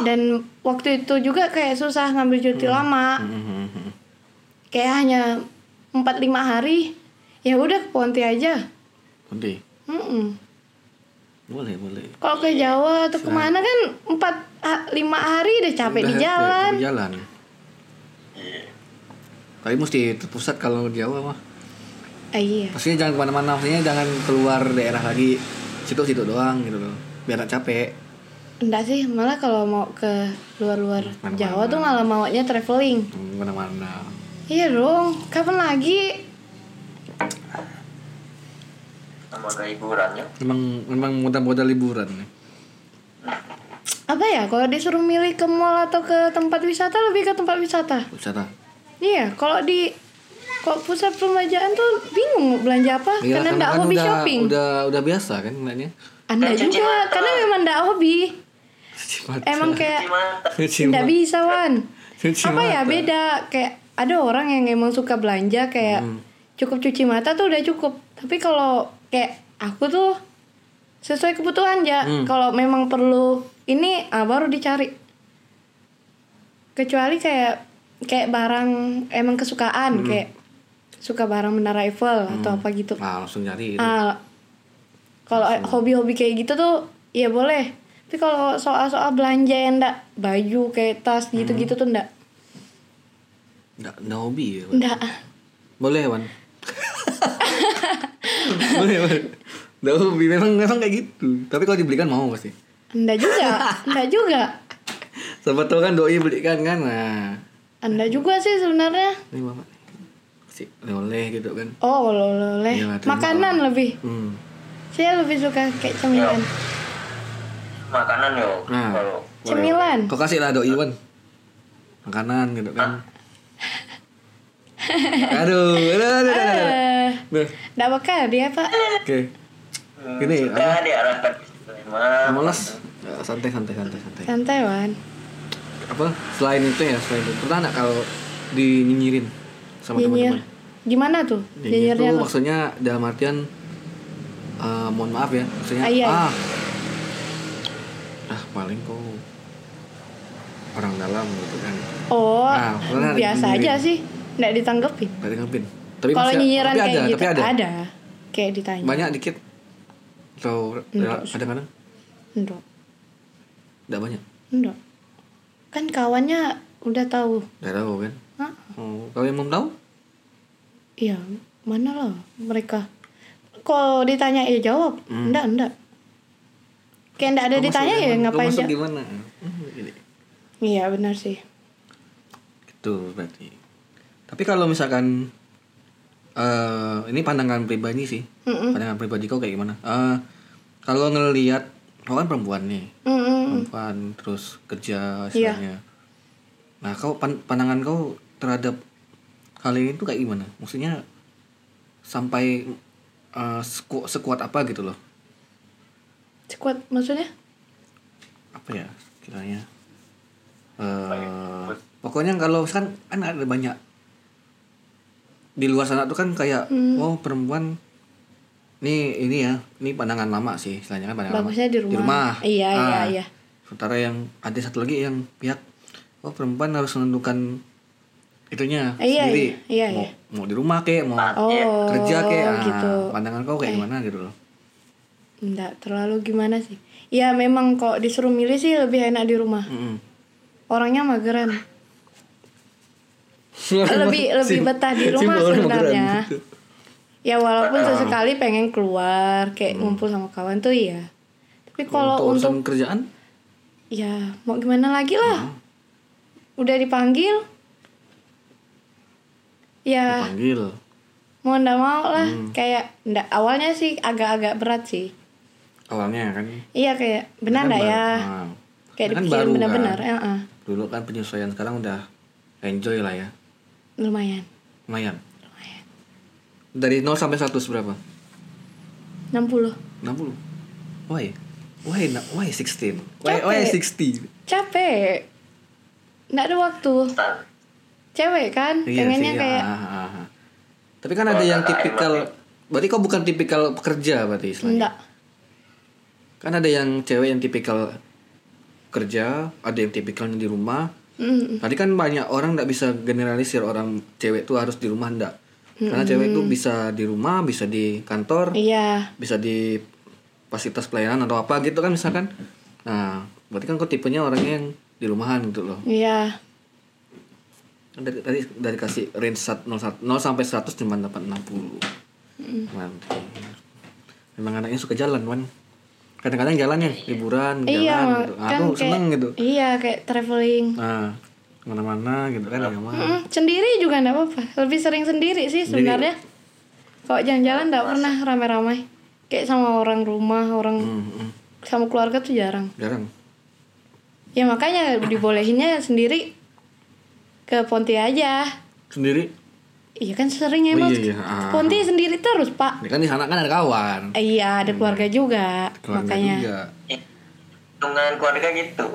Speaker 2: dan waktu itu juga kayak susah ngambil cuti lama
Speaker 1: Hmm, hmm, hmm.
Speaker 2: kayak hanya empat lima hari ya udah ke Ponti aja
Speaker 1: Nanti.
Speaker 2: Mm-mm.
Speaker 1: boleh boleh
Speaker 2: kalau ke Jawa atau kemana kan empat ha- lima hari udah capek di
Speaker 1: Udah,
Speaker 2: jalan
Speaker 1: capek di jalan tapi mesti terpusat kalau di Jawa mah
Speaker 2: Ah, iya
Speaker 1: Maksudnya jangan kemana-mana, maksudnya jangan keluar daerah lagi situ-situ doang gitu loh, biar gak capek.
Speaker 2: enggak sih malah kalau mau ke luar-luar
Speaker 1: Mana-mana.
Speaker 2: Jawa tuh malah maunya traveling
Speaker 1: Hmm, Kemana-mana.
Speaker 2: iya dong kapan lagi
Speaker 3: sama hiburannya
Speaker 1: Memang memang modal-modal liburan nih.
Speaker 2: apa ya kalau disuruh milih ke mall atau ke tempat wisata lebih ke tempat wisata
Speaker 1: Wisata.
Speaker 2: iya kalau di kok pusat perbelanjaan tuh bingung mau belanja apa
Speaker 1: Iya,
Speaker 2: Ah, karena ndak hobi
Speaker 1: udah,
Speaker 2: shopping
Speaker 1: Udah udah biasa kan nanya.
Speaker 2: anda
Speaker 3: Kan cuci
Speaker 2: juga
Speaker 3: mata.
Speaker 2: karena memang ndak hobi
Speaker 1: Cuci mata.
Speaker 2: emang kayak
Speaker 3: di mata
Speaker 1: Cuci
Speaker 2: ndak
Speaker 1: mata.
Speaker 2: bisa wan
Speaker 1: Cuci
Speaker 2: apa ya
Speaker 1: mata.
Speaker 2: beda kayak ada orang yang emang suka belanja kayak
Speaker 1: Hmm.
Speaker 2: cukup cuci mata tuh udah cukup tapi kalau kayak aku tuh sesuai kebutuhan ya
Speaker 1: Hmm.
Speaker 2: kalau memang perlu ini ah, baru dicari kecuali kayak kayak barang emang kesukaan
Speaker 1: Hmm.
Speaker 2: kayak suka barang menara Eiffel atau apa gitu
Speaker 1: Nah, langsung nyari gitu.
Speaker 2: Ah, kalau hobi-hobi kayak gitu tuh ya boleh. Tapi kalau soal-soal belanja yang enggak baju kayak tas gitu-gitu
Speaker 1: Hmm.
Speaker 2: tuh enggak.
Speaker 1: Nggak, nggak hobi ya. Wan.
Speaker 2: Enggak.
Speaker 1: Boleh, Wan. boleh, Wan. Nggak hobi memang memang kayak gitu. Tapi kalau dibelikan mau pasti.
Speaker 2: Anda juga, Anda juga.
Speaker 1: Sebetulnya kan doi belikan kan. Nah,
Speaker 2: Anda juga sih sebenarnya.
Speaker 1: ini bapak si oleh gitu kan.
Speaker 2: Oh, oleh-oleh.
Speaker 1: Iya, terima
Speaker 2: Makanan lebih.
Speaker 1: Hmm.
Speaker 2: Saya lebih suka kayak cemilan.
Speaker 3: makanan yo
Speaker 1: Nah.
Speaker 3: kalau
Speaker 2: Cemilan.
Speaker 1: Kau kasih lah doi Wan. Makanan gitu kan. aduh, aduh, aduh, aduh, aduh.
Speaker 2: Eh,
Speaker 1: Duh,
Speaker 2: Nggak bakal dia, Pak.
Speaker 1: Oke.
Speaker 3: Eh,
Speaker 1: Gini,
Speaker 3: sudah
Speaker 1: apa?
Speaker 3: diarahkan
Speaker 1: Ah,
Speaker 3: memang
Speaker 1: Malas. Ya, santai, santai, santai, santai.
Speaker 2: Santai, Wan.
Speaker 1: Apa? Selain itu ya, selain itu. Pernah nggak kalau dinyinyirin sama
Speaker 2: Nyinyir.
Speaker 1: teman-teman?
Speaker 2: Gimana tuh?
Speaker 1: Nyinyir
Speaker 2: Nyinyirnya
Speaker 1: itu
Speaker 2: apa?
Speaker 1: maksudnya dalam artian eh, mohon maaf ya, maksudnya
Speaker 2: Ah, iya, iya.
Speaker 1: ah ah paling kok orang dalam gitu kan.
Speaker 2: Oh,
Speaker 1: Nah, pernah
Speaker 2: biasa
Speaker 1: nyinyirin.
Speaker 2: aja sih. Nggak ditanggepin.
Speaker 1: Gak dianggapin. Tapi
Speaker 2: Kalau
Speaker 1: masih-
Speaker 2: nyinyiran
Speaker 1: tapi
Speaker 2: kayak
Speaker 1: ada,
Speaker 2: gitu
Speaker 1: tapi ada.
Speaker 2: Kayak ditanya.
Speaker 1: Banyak dikit. Atau
Speaker 2: Enggak
Speaker 1: ya, kadang-kadang
Speaker 2: Enggak.
Speaker 1: enggak banyak.
Speaker 2: Enggak. Kan kawannya udah tahu.
Speaker 1: Enggak tahu kan.
Speaker 2: Hah?
Speaker 1: Oh, kalau yang belum tahu?
Speaker 2: Iya, mana lah mereka. Kalau ditanya ya jawab.
Speaker 1: Hmm.
Speaker 2: Enggak, enggak. Kayak enggak ada
Speaker 1: kau masuk
Speaker 2: ditanya ya
Speaker 1: gimana- kau
Speaker 2: ngapain
Speaker 1: masuk
Speaker 2: aja.
Speaker 1: gimana? Hmm, gini.
Speaker 2: Iya, benar sih.
Speaker 1: Gitu berarti. Tapi kalau misalkan eh ini pandangan pribadi sih.
Speaker 2: Mm-mm.
Speaker 1: Pandangan pribadi kau kayak gimana? Eh kalau ngelihat kau kan perempuan nih. Hmm.
Speaker 2: Mm-mm.
Speaker 1: perempuan terus kerja
Speaker 2: Hmm. Iya.
Speaker 1: istilahnya. Nah, kau pan- pandangan kau terhadap hal ini tuh kayak gimana? Maksudnya sampai eh, seku- sekuat apa gitu loh?
Speaker 2: Sekuat maksudnya?
Speaker 1: Apa ya kiranya? Eh, pokoknya kalau kan kan ada banyak di luar sana tuh kan kayak
Speaker 2: Hmm.
Speaker 1: oh perempuan nih ini ya ini pandangan lama sih istilahnya kan pandangan
Speaker 2: Bagusnya
Speaker 1: lama Ah.
Speaker 2: di rumah. Iya, iya, iya.
Speaker 1: sementara yang ada satu lagi yang pihak oh perempan harus menentukan itunya
Speaker 2: Iya,
Speaker 1: sendiri
Speaker 2: iya, iya,
Speaker 1: mau
Speaker 2: iya.
Speaker 1: mau di rumah kek mau
Speaker 2: Oh,
Speaker 1: kerja kek ah,
Speaker 2: gitu.
Speaker 1: pandangan kau kayak gimana gitu loh
Speaker 2: Enggak terlalu gimana sih. Ya memang kok disuruh milih sih lebih enak di rumah.
Speaker 1: Mm-mm.
Speaker 2: Orangnya mageran.
Speaker 1: Iya,
Speaker 2: Lebih lebih
Speaker 1: Sim-
Speaker 2: betah di
Speaker 1: sim
Speaker 2: rumah
Speaker 1: orang
Speaker 2: sebenarnya.
Speaker 1: beneran gitu. Ah.
Speaker 2: Ya walaupun sesekali pengen keluar kayak
Speaker 1: Hmm.
Speaker 2: ngumpul sama kawan tuh iya. Tapi kalau
Speaker 1: urusan
Speaker 2: untuk
Speaker 1: kerjaan
Speaker 2: ya mau gimana lagi lah.
Speaker 1: Hmm.
Speaker 2: Udah dipanggil. Ya
Speaker 1: dipanggil Hmm.
Speaker 2: mau ndak mau lah kayak ndak awalnya sih agak-agak berat sih.
Speaker 1: awalnya kan
Speaker 2: Iya kayak
Speaker 1: Kan
Speaker 2: benar ndak
Speaker 1: baru-
Speaker 2: ya?
Speaker 1: ah.
Speaker 2: Kayak
Speaker 1: Kan
Speaker 2: dipikirin
Speaker 1: baru kan.
Speaker 2: benar-benar. eh, eh.
Speaker 1: dulu kan penyesuaian sekarang udah enjoy lah ya
Speaker 2: Lumayan.
Speaker 1: lumayan dari 0 sampai 100 berapa
Speaker 2: 60.
Speaker 1: 60 why why na- why 16 why why
Speaker 2: Capek.
Speaker 1: 60
Speaker 2: Capek. Ndak ada waktu. Cewek kan pengennya
Speaker 1: sih,
Speaker 2: kayak
Speaker 1: ah, ah, ah. tapi kan ada yang tipikal berarti kau bukan tipikal pekerja berarti istilahnya
Speaker 2: ndak. Iya.
Speaker 1: kan ada yang cewek yang tipikal kerja ada yang tipikalnya di rumah
Speaker 2: Mm.
Speaker 1: tadi kan banyak orang nggak bisa generalisir orang cewek tuh harus di rumah ndak karena cewek tuh bisa di rumah bisa di kantor
Speaker 2: Iya.
Speaker 1: bisa di fasilitas pelayanan atau apa gitu kan misalkan nah berarti kan kau tipenya orangnya yang di rumahan gitu loh
Speaker 2: Iya.
Speaker 1: Kan dari tadi dari kasih range sat- 0, sat- 0 sampai 100 cuma dapat 60 mantap memang anaknya suka jalan wan kadang-kadang jalan ya liburan
Speaker 2: Iya,
Speaker 1: jalan
Speaker 2: Mak.
Speaker 1: gitu.
Speaker 2: kan
Speaker 1: aku
Speaker 2: kayak,
Speaker 1: seneng gitu
Speaker 2: Iya, kayak traveling.
Speaker 1: nah kemana-mana gitu kan ya mah
Speaker 2: Mm, sendiri juga enggak apa-apa. Lebih sering sendiri sih
Speaker 1: Sendiri.
Speaker 2: sebenarnya. Kalau jalan-jalan enggak pernah rame-ramai. Kayak sama orang rumah, orang
Speaker 1: Hmm, hmm.
Speaker 2: sama keluarga tuh jarang.
Speaker 1: jarang
Speaker 2: Ya makanya dibolehinnya sendiri ke Ponti aja.
Speaker 1: sendiri
Speaker 2: Iya kan sering
Speaker 1: Oh,
Speaker 2: emang.
Speaker 1: iya, iya. Ah.
Speaker 2: Ponti sendiri terus, Pak.
Speaker 1: ya kan di sana kan ada kawan
Speaker 2: Eh, Iya, ada keluarga juga.
Speaker 1: Hmm. keluarga
Speaker 2: makanya.
Speaker 1: juga
Speaker 3: hitungan keluarga gitu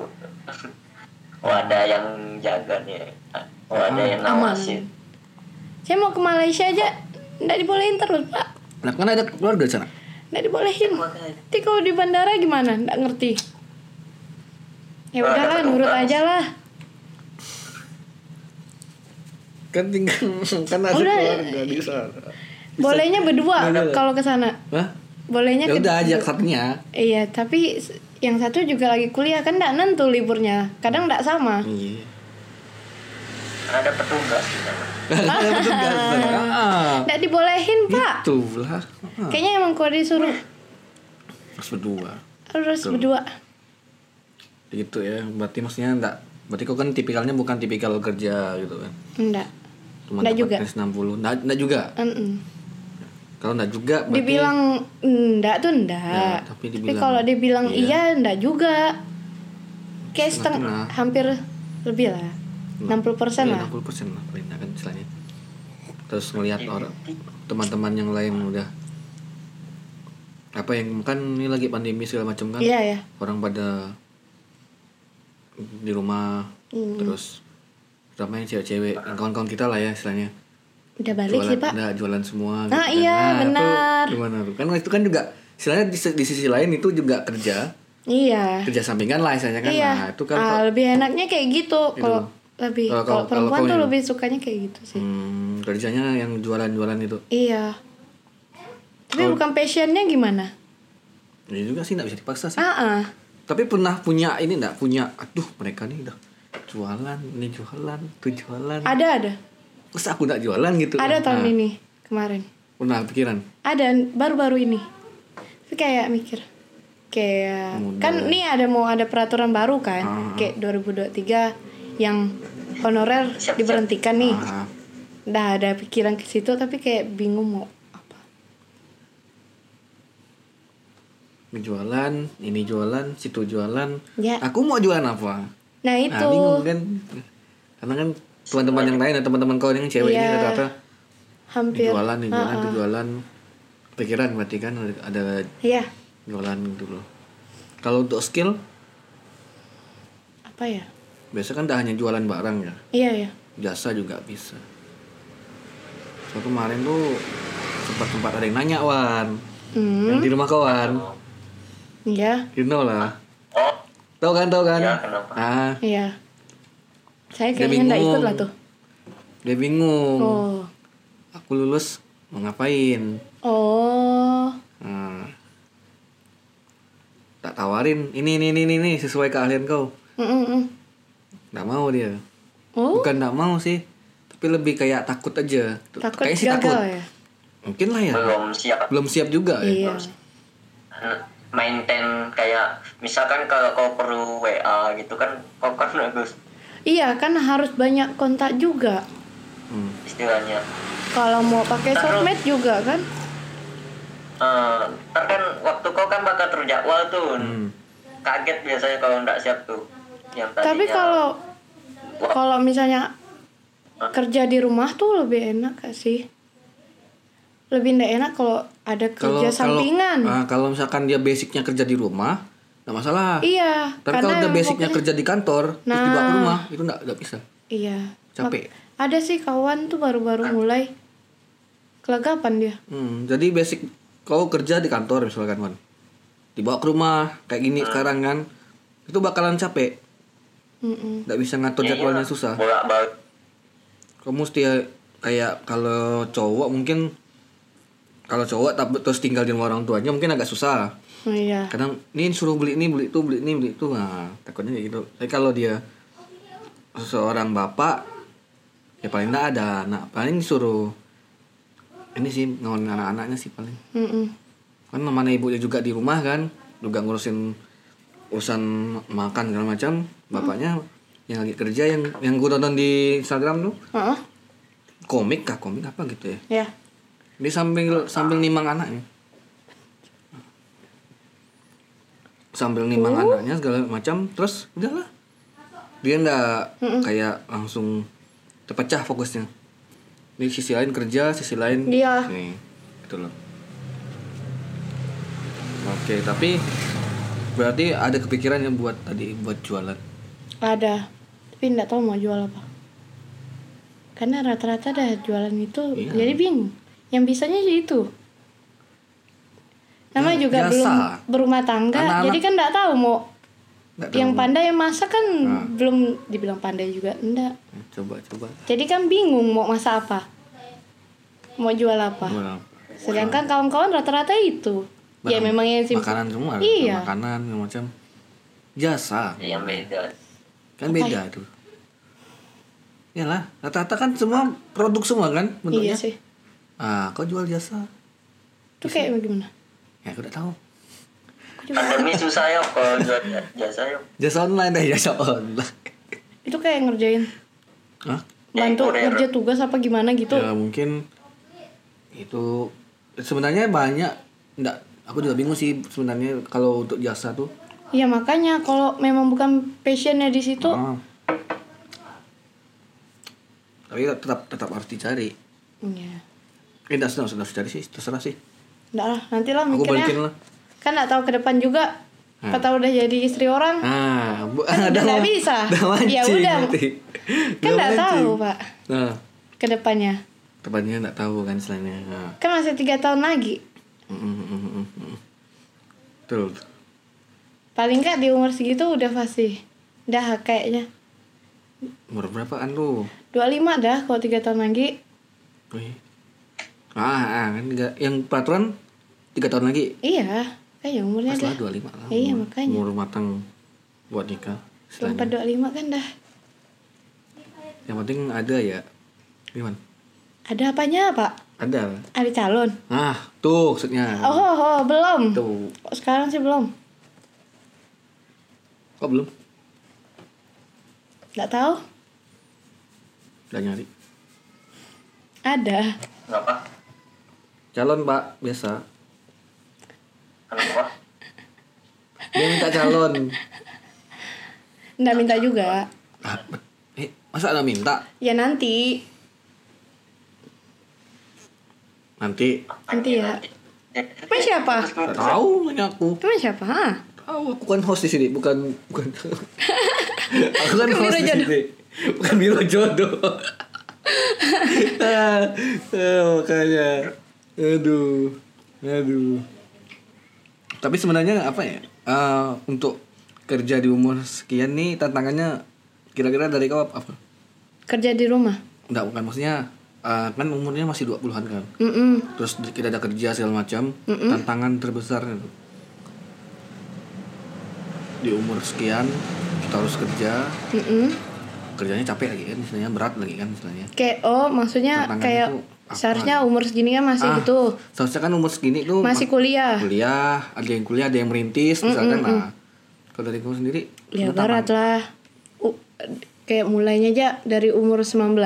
Speaker 3: oh ada yang jaga nih oh ada yang
Speaker 2: Aman.
Speaker 3: nawasin
Speaker 2: Saya mau ke Malaysia aja enggak dibolehin terus, Pak.
Speaker 1: nah kan ada keluarga di sana
Speaker 2: nggak dibolehin nanti kalau di bandara gimana nggak ngerti ya udahlah nurut aja lah
Speaker 1: kan tinggal kan ada
Speaker 2: Udah.
Speaker 1: keluarga di sana
Speaker 2: bolehnya berdua kalau ke sana
Speaker 1: Hah?
Speaker 2: bolehnya
Speaker 1: ya
Speaker 2: ke-
Speaker 1: udah ajak satunya
Speaker 2: iya tapi s- yang satu juga lagi kuliah kan nggak nentu liburnya kadang nggak sama
Speaker 1: iya
Speaker 3: ada petugas gitu.
Speaker 1: ada petugas di sana. Iya. Ah.
Speaker 2: nggak dibolehin pak
Speaker 1: Tuh lah. Ah,
Speaker 2: kayaknya emang kalau disuruh
Speaker 1: Harus berdua.
Speaker 2: harus berdua
Speaker 1: gitu ya berarti maksudnya enggak berarti kau kan tipikalnya bukan tipikal kerja gitu kan
Speaker 2: enggak
Speaker 1: cuma
Speaker 2: Nggak
Speaker 1: dapat
Speaker 2: juga.
Speaker 1: tes 60 enggak, enggak juga
Speaker 2: Mm-mm.
Speaker 1: kalau enggak juga berarti
Speaker 2: dibilang enggak tuh
Speaker 1: Enggak,
Speaker 2: enggak
Speaker 1: tapi
Speaker 2: tapi,
Speaker 1: dibilang
Speaker 2: kalau dibilang iya. enggak juga kayak
Speaker 1: Setengah-tengah.
Speaker 2: setengah hampir lebih lah 60 persen
Speaker 1: Iya,
Speaker 2: lah
Speaker 1: 60% lah paling enggak kan istilahnya terus ngelihat orang teman-teman yang lain udah apa yang kan ini lagi pandemi segala macam kan
Speaker 2: iya ya
Speaker 1: orang pada di rumah
Speaker 2: Hmm.
Speaker 1: terus terutama yang cewek-cewek yang kawan-kawan kita lah ya istilahnya
Speaker 2: udah balik
Speaker 1: jualan
Speaker 2: sih pak
Speaker 1: nggak, jualan semua kan.
Speaker 2: Ah, iya,
Speaker 1: itu
Speaker 2: benar.
Speaker 1: gimana tuh kan itu kan juga istilahnya di, se- di sisi lain itu juga kerja
Speaker 2: iya
Speaker 1: kerja sampingan lah istilahnya kan
Speaker 2: iya
Speaker 1: nah itu kan
Speaker 2: Ah,
Speaker 1: kok-
Speaker 2: lebih enaknya kayak gitu
Speaker 1: Gitu.
Speaker 2: kalau lebih
Speaker 1: Kalau-
Speaker 2: kalau
Speaker 1: kalau-
Speaker 2: perempuan
Speaker 1: kalau
Speaker 2: tuh
Speaker 1: kau
Speaker 2: lebih sukanya kayak gitu sih
Speaker 1: hmm, kerjanya yang jualan-jualan itu
Speaker 2: iya tapi
Speaker 1: Kalau-
Speaker 2: bukan passionnya gimana
Speaker 1: ya juga sih nggak bisa dipaksa sih
Speaker 2: ah ah
Speaker 1: tapi pernah punya ini nggak punya aduh mereka nih udah jualan ini jualan itu jualan
Speaker 2: ada ada
Speaker 1: terus aku nggak jualan gitu
Speaker 2: ada tahun
Speaker 1: Nah,
Speaker 2: ini kemarin
Speaker 1: pernah pikiran
Speaker 2: ada baru-baru ini tapi kayak mikir kayak
Speaker 1: Mudah.
Speaker 2: kan nih ada mau ada peraturan baru kan
Speaker 1: Ah.
Speaker 2: kayak 2023 yang honorer diberhentikan nih
Speaker 1: Ah,
Speaker 2: udah ada pikiran ke situ tapi kayak bingung mau apa
Speaker 1: jualan ini jualan situ jualan
Speaker 2: Ya.
Speaker 1: aku mau jualan apa nah
Speaker 2: nah itu
Speaker 1: bingung kan karena kan teman-teman yang lain atau teman-teman kau yang cewek ini
Speaker 2: Iya.
Speaker 1: rata-rata ini
Speaker 2: hampir
Speaker 1: jualan ini jualan itu
Speaker 2: Ah, ah.
Speaker 1: jualan pikiran berarti kan ada- ada
Speaker 2: iya
Speaker 1: jualan gitu loh kalau untuk skill
Speaker 2: apa ya
Speaker 1: biasa kan tak hanya jualan barang ya
Speaker 2: iya ya
Speaker 1: jasa juga bisa so kemarin tuh sempat tempat ada yang nanya wan
Speaker 2: hmm
Speaker 1: yang di rumah kawan
Speaker 2: iya
Speaker 1: you know lah
Speaker 3: oh
Speaker 1: tau kan tau kan
Speaker 3: Ya, kenapa?
Speaker 1: ah
Speaker 2: iya saya
Speaker 1: Dia
Speaker 2: kayaknya nggak
Speaker 1: bingung.
Speaker 2: ikut lah tuh
Speaker 1: dia bingung
Speaker 2: oh
Speaker 1: aku lulus mau ngapain
Speaker 2: oh
Speaker 1: Nah, tak tawarin ini ini ini ini, ini sesuai keahlian kau
Speaker 2: mm -mm. mm.
Speaker 1: nggak mau dia
Speaker 2: oh
Speaker 1: bukan nggak mau sih tapi lebih kayak takut aja
Speaker 2: takut
Speaker 1: Kayaknya sih
Speaker 2: gagal
Speaker 1: takut Oh,
Speaker 2: ya
Speaker 1: mungkin lah ya
Speaker 3: belum siap
Speaker 1: belum siap juga ya
Speaker 2: iya
Speaker 3: maintain kayak misalkan kalau kau perlu WA gitu kan kau kan harus
Speaker 2: iya kan harus banyak kontak juga
Speaker 1: Hmm.
Speaker 3: istilahnya
Speaker 2: kalau mau pakai sosmed juga kan
Speaker 3: Eh, ntar kan waktu kau kan bakal terjadwal tuh
Speaker 1: Hmm.
Speaker 3: kaget biasanya kalau nggak siap tuh yang
Speaker 2: tapi
Speaker 3: tadinya-
Speaker 2: kalau kalau misalnya kerja di rumah tuh lebih enak gak sih lebih ndak enak kalau ada kerja sampingan
Speaker 1: Kalau, ah, kalau misalkan dia basicnya kerja di rumah, nggak masalah.
Speaker 2: iya
Speaker 1: Tapi kalau udah
Speaker 2: emang
Speaker 1: basicnya
Speaker 2: pokoknya-
Speaker 1: kerja di kantor, terus dibawa ke
Speaker 2: Nah.
Speaker 1: rumah, itu nggak nggak bisa.
Speaker 2: iya
Speaker 1: Capek. Ah.
Speaker 2: Mak- ada sih kawan tuh baru-baru mulai kelagapan dia
Speaker 1: Hmm, jadi basic kau kerja di kantor misalkan kan, dibawa ke rumah kayak
Speaker 3: Hmm.
Speaker 1: gini sekarang kan, itu bakalan capek,
Speaker 2: Mm-mm.
Speaker 1: nggak bisa ngatur
Speaker 3: Ya,
Speaker 1: jadwalnya
Speaker 3: iya.
Speaker 1: susah.
Speaker 3: bolak-balik
Speaker 1: Kamu mesti ya, kayak kalau cowok mungkin kalau cowok tapi terus tinggal di rumah orang tuanya mungkin agak susah.
Speaker 2: Oh, iya
Speaker 1: kadang ini suruh beli ini beli itu beli ini beli itu nah takutnya kayak gitu tapi kalau dia seorang bapak ya paling nggak ada anak paling suruh ini sih ngawin anak-anaknya sih paling
Speaker 2: Mm-mm.
Speaker 1: kan mana ibunya juga di rumah kan juga ngurusin urusan makan segala macam bapaknya yang lagi kerja yang yang gue tonton di Instagram tuh
Speaker 2: Heeh.
Speaker 1: komik kah komik apa gitu ya
Speaker 2: ya
Speaker 1: dia sambil sambil nimang anaknya. Sambil
Speaker 2: Uh.
Speaker 1: nimang anaknya segala macam terus udahlah. Dia ndak kayak langsung terpecah fokusnya. Di sisi lain kerja, sisi lain
Speaker 2: Iya.
Speaker 1: nih. Gitu loh. Oke, tapi berarti ada kepikiran yang buat tadi buat jualan.
Speaker 2: Ada, tapi nggak tahu mau jual apa. Karena rata-rata ada jualan itu,
Speaker 1: Iya.
Speaker 2: jadi bingung. Yang bisanya sih itu. Namanya
Speaker 1: Ya,
Speaker 2: juga
Speaker 1: biasa.
Speaker 2: belum berumah tangga,
Speaker 1: Anak-anak-
Speaker 2: jadi kan nggak tahu mau
Speaker 1: Nggak
Speaker 2: yang
Speaker 1: tahu.
Speaker 2: pandai yang masak kan
Speaker 1: Nah.
Speaker 2: belum dibilang pandai juga, enggak.
Speaker 1: Coba coba.
Speaker 2: Jadi kan bingung mau masak apa, mau jual apa.
Speaker 1: Jualan.
Speaker 2: Sedangkan kawan-kawan rata-rata itu, ya
Speaker 1: Barang-
Speaker 2: memang yang simpel.
Speaker 1: Makanan semua,
Speaker 2: Iya.
Speaker 1: makanan yang macam jasa.
Speaker 3: yang Iya, beda
Speaker 1: kan beda tuh iyalah rata-rata kan semua produk semua kan bentuknya
Speaker 2: Iya sih.
Speaker 1: ah kau jual jasa
Speaker 2: Itu kayak gimana?
Speaker 1: ya aku udah tahu
Speaker 2: Aku
Speaker 3: pandemi susah ya kalau jual jasa ya
Speaker 1: Jasa online deh, jasa online.
Speaker 2: Itu kayak ngerjain
Speaker 1: Hah?
Speaker 2: bantu
Speaker 3: kurir.
Speaker 2: kerja tugas apa gimana gitu.
Speaker 1: Ya mungkin itu sebenarnya banyak enggak aku juga bingung sih sebenarnya kalau untuk jasa tuh.
Speaker 2: Iya makanya kalau memang bukan passionnya di situ,
Speaker 1: Ah. Tapi tetap tetap harus dicari.
Speaker 2: ya
Speaker 1: Eh, enggak harus harus dicari sih, terserah sih.
Speaker 2: enggak lah nantilah
Speaker 1: Aku
Speaker 2: mikirnya.
Speaker 1: balikin lah.
Speaker 2: Kan nggak tahu ke depan juga.
Speaker 1: Hmm.
Speaker 2: Kata udah jadi istri orang,
Speaker 1: Nah, bu-
Speaker 2: Kan udah nggak
Speaker 1: ma-
Speaker 2: bisa.
Speaker 1: Udah mancing.
Speaker 2: Ya udah.
Speaker 1: nanti. Udah
Speaker 2: kan nggak
Speaker 1: mancing.
Speaker 2: tahu pak
Speaker 1: Nah,
Speaker 2: ke depannya.
Speaker 1: tepatnya nggak tahu kan selainnya. Nah.
Speaker 2: Kan masih tiga tahun lagi.
Speaker 1: Mm, mm, mm, mm, mm. Betul.
Speaker 2: Paling nggak di umur segitu udah pasti dah kayaknya.
Speaker 1: Umur berapaan lu?
Speaker 2: 25 dah kalau tiga tahun lagi.
Speaker 1: Wih. Ah, ah, kan nggak- yang peraturan tiga tahun lagi.
Speaker 2: Iya, kayak umurnya
Speaker 1: Pas
Speaker 2: dah.
Speaker 1: lah 25 lah.
Speaker 2: Iya,
Speaker 1: umur-
Speaker 2: makanya.
Speaker 1: Umur matang buat nikah. istilahnya.
Speaker 2: 24 25 kan dah.
Speaker 1: Yang penting ada ya. Gimana?
Speaker 2: Ada apanya, Pak?
Speaker 1: Ada.
Speaker 2: Ada calon.
Speaker 1: Ah, tuh maksudnya.
Speaker 2: Oh, oh, oh, belum.
Speaker 1: Tuh.
Speaker 2: Kok sekarang sih belum.
Speaker 1: Kok belum?
Speaker 2: Nggak tahu.
Speaker 1: Udah nyari.
Speaker 2: Ada.
Speaker 3: kenapa
Speaker 1: Calon, Pak, biasa.
Speaker 3: kenapa
Speaker 1: Dia minta calon.
Speaker 2: Nggak minta juga.
Speaker 1: Ah, eh, masa ada minta?
Speaker 2: Ya nanti.
Speaker 1: Nanti.
Speaker 2: Nanti ya. Emang siapa?
Speaker 1: Nggak tahu, nanya aku.
Speaker 2: Emang siapa? Ha?
Speaker 1: Tahu, aku kan host di sini, bukan bukan. aku kan
Speaker 2: Bukan
Speaker 1: host
Speaker 2: biro
Speaker 1: di
Speaker 2: jodoh.
Speaker 1: sini. Bukan biro jodoh. ah, ah, makanya. Aduh. Aduh. Tapi sebenarnya apa ya? Eh, untuk kerja di umur sekian nih tantangannya kira-kira dari kau apa? apa?
Speaker 2: Kerja di rumah.
Speaker 1: Enggak, bukan maksudnya eh, kan umurnya masih 20-an kan.
Speaker 2: Mm-mm.
Speaker 1: Terus kita ada kerja segala macam, tantangan terbesarnya tuh. Di umur sekian kita harus kerja,
Speaker 2: Mm-mm.
Speaker 1: kerjanya capek lagi kan, misalnya berat lagi kan misalnya.
Speaker 2: Kayak oh, maksudnya
Speaker 1: Tantangan
Speaker 2: kayak
Speaker 1: itu apa? Ah.
Speaker 2: seharusnya umur segini kan masih gitu.
Speaker 1: Seharusnya kan umur segini tuh
Speaker 2: Masih
Speaker 1: mak-
Speaker 2: kuliah.
Speaker 1: kuliah, ada yang kuliah, ada yang merintis misalkan nah. Kalau dari kamu sendiri,
Speaker 2: Ya
Speaker 1: tentang
Speaker 2: barat lah. U- kayak mulainya aja dari umur 19.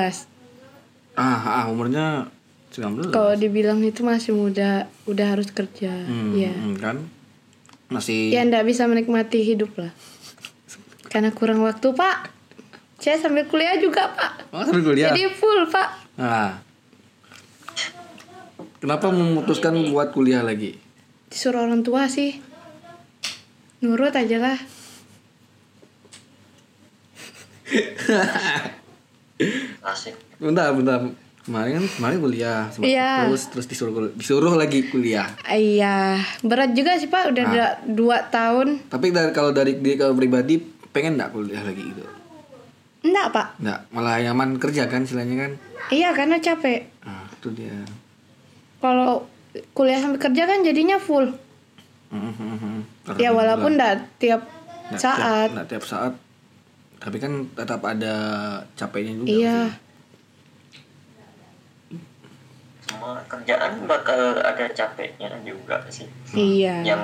Speaker 1: ah, ah, umurnya 19.
Speaker 2: Kalau dibilang itu masih muda, udah harus kerja.
Speaker 1: Hmm,
Speaker 2: Ya.
Speaker 1: hmm, kan? Masih
Speaker 2: Ya ndak bisa menikmati hidup lah. Karena kurang waktu, Pak. Saya sambil kuliah juga, Pak.
Speaker 1: Oh, sambil kuliah.
Speaker 2: Jadi full, Pak.
Speaker 1: Nah. Kenapa memutuskan buat kuliah lagi?
Speaker 2: Disuruh orang tua sih. Nurut aja lah.
Speaker 3: asik
Speaker 1: Bentar, bentar. Kemarin kan kemarin kuliah sama
Speaker 2: Iya.
Speaker 1: terus terus disuruh kul- disuruh lagi kuliah.
Speaker 2: Iya, berat juga sih, Pak. Udah
Speaker 1: Nah.
Speaker 2: da- dua tahun.
Speaker 1: Tapi dari kalau dari diri kalau pribadi pengen nggak kuliah lagi gitu?
Speaker 2: Enggak, Pak.
Speaker 1: Nggak, malah nyaman kerja kan istilahnya kan.
Speaker 2: Iya, karena capek.
Speaker 1: Nah, itu dia.
Speaker 2: Kalau kuliah sambil kerja kan jadinya full.
Speaker 1: Mm-hmm,
Speaker 2: Ya walaupun enggak tiap
Speaker 1: Nggak Nah,
Speaker 2: saat.
Speaker 1: tiap, nggak tiap saat. Tapi kan tetap ada capeknya juga.
Speaker 2: Iya.
Speaker 1: sih.
Speaker 3: semua kerjaan bakal ada capeknya juga sih
Speaker 1: nah.
Speaker 2: Iya.
Speaker 3: yang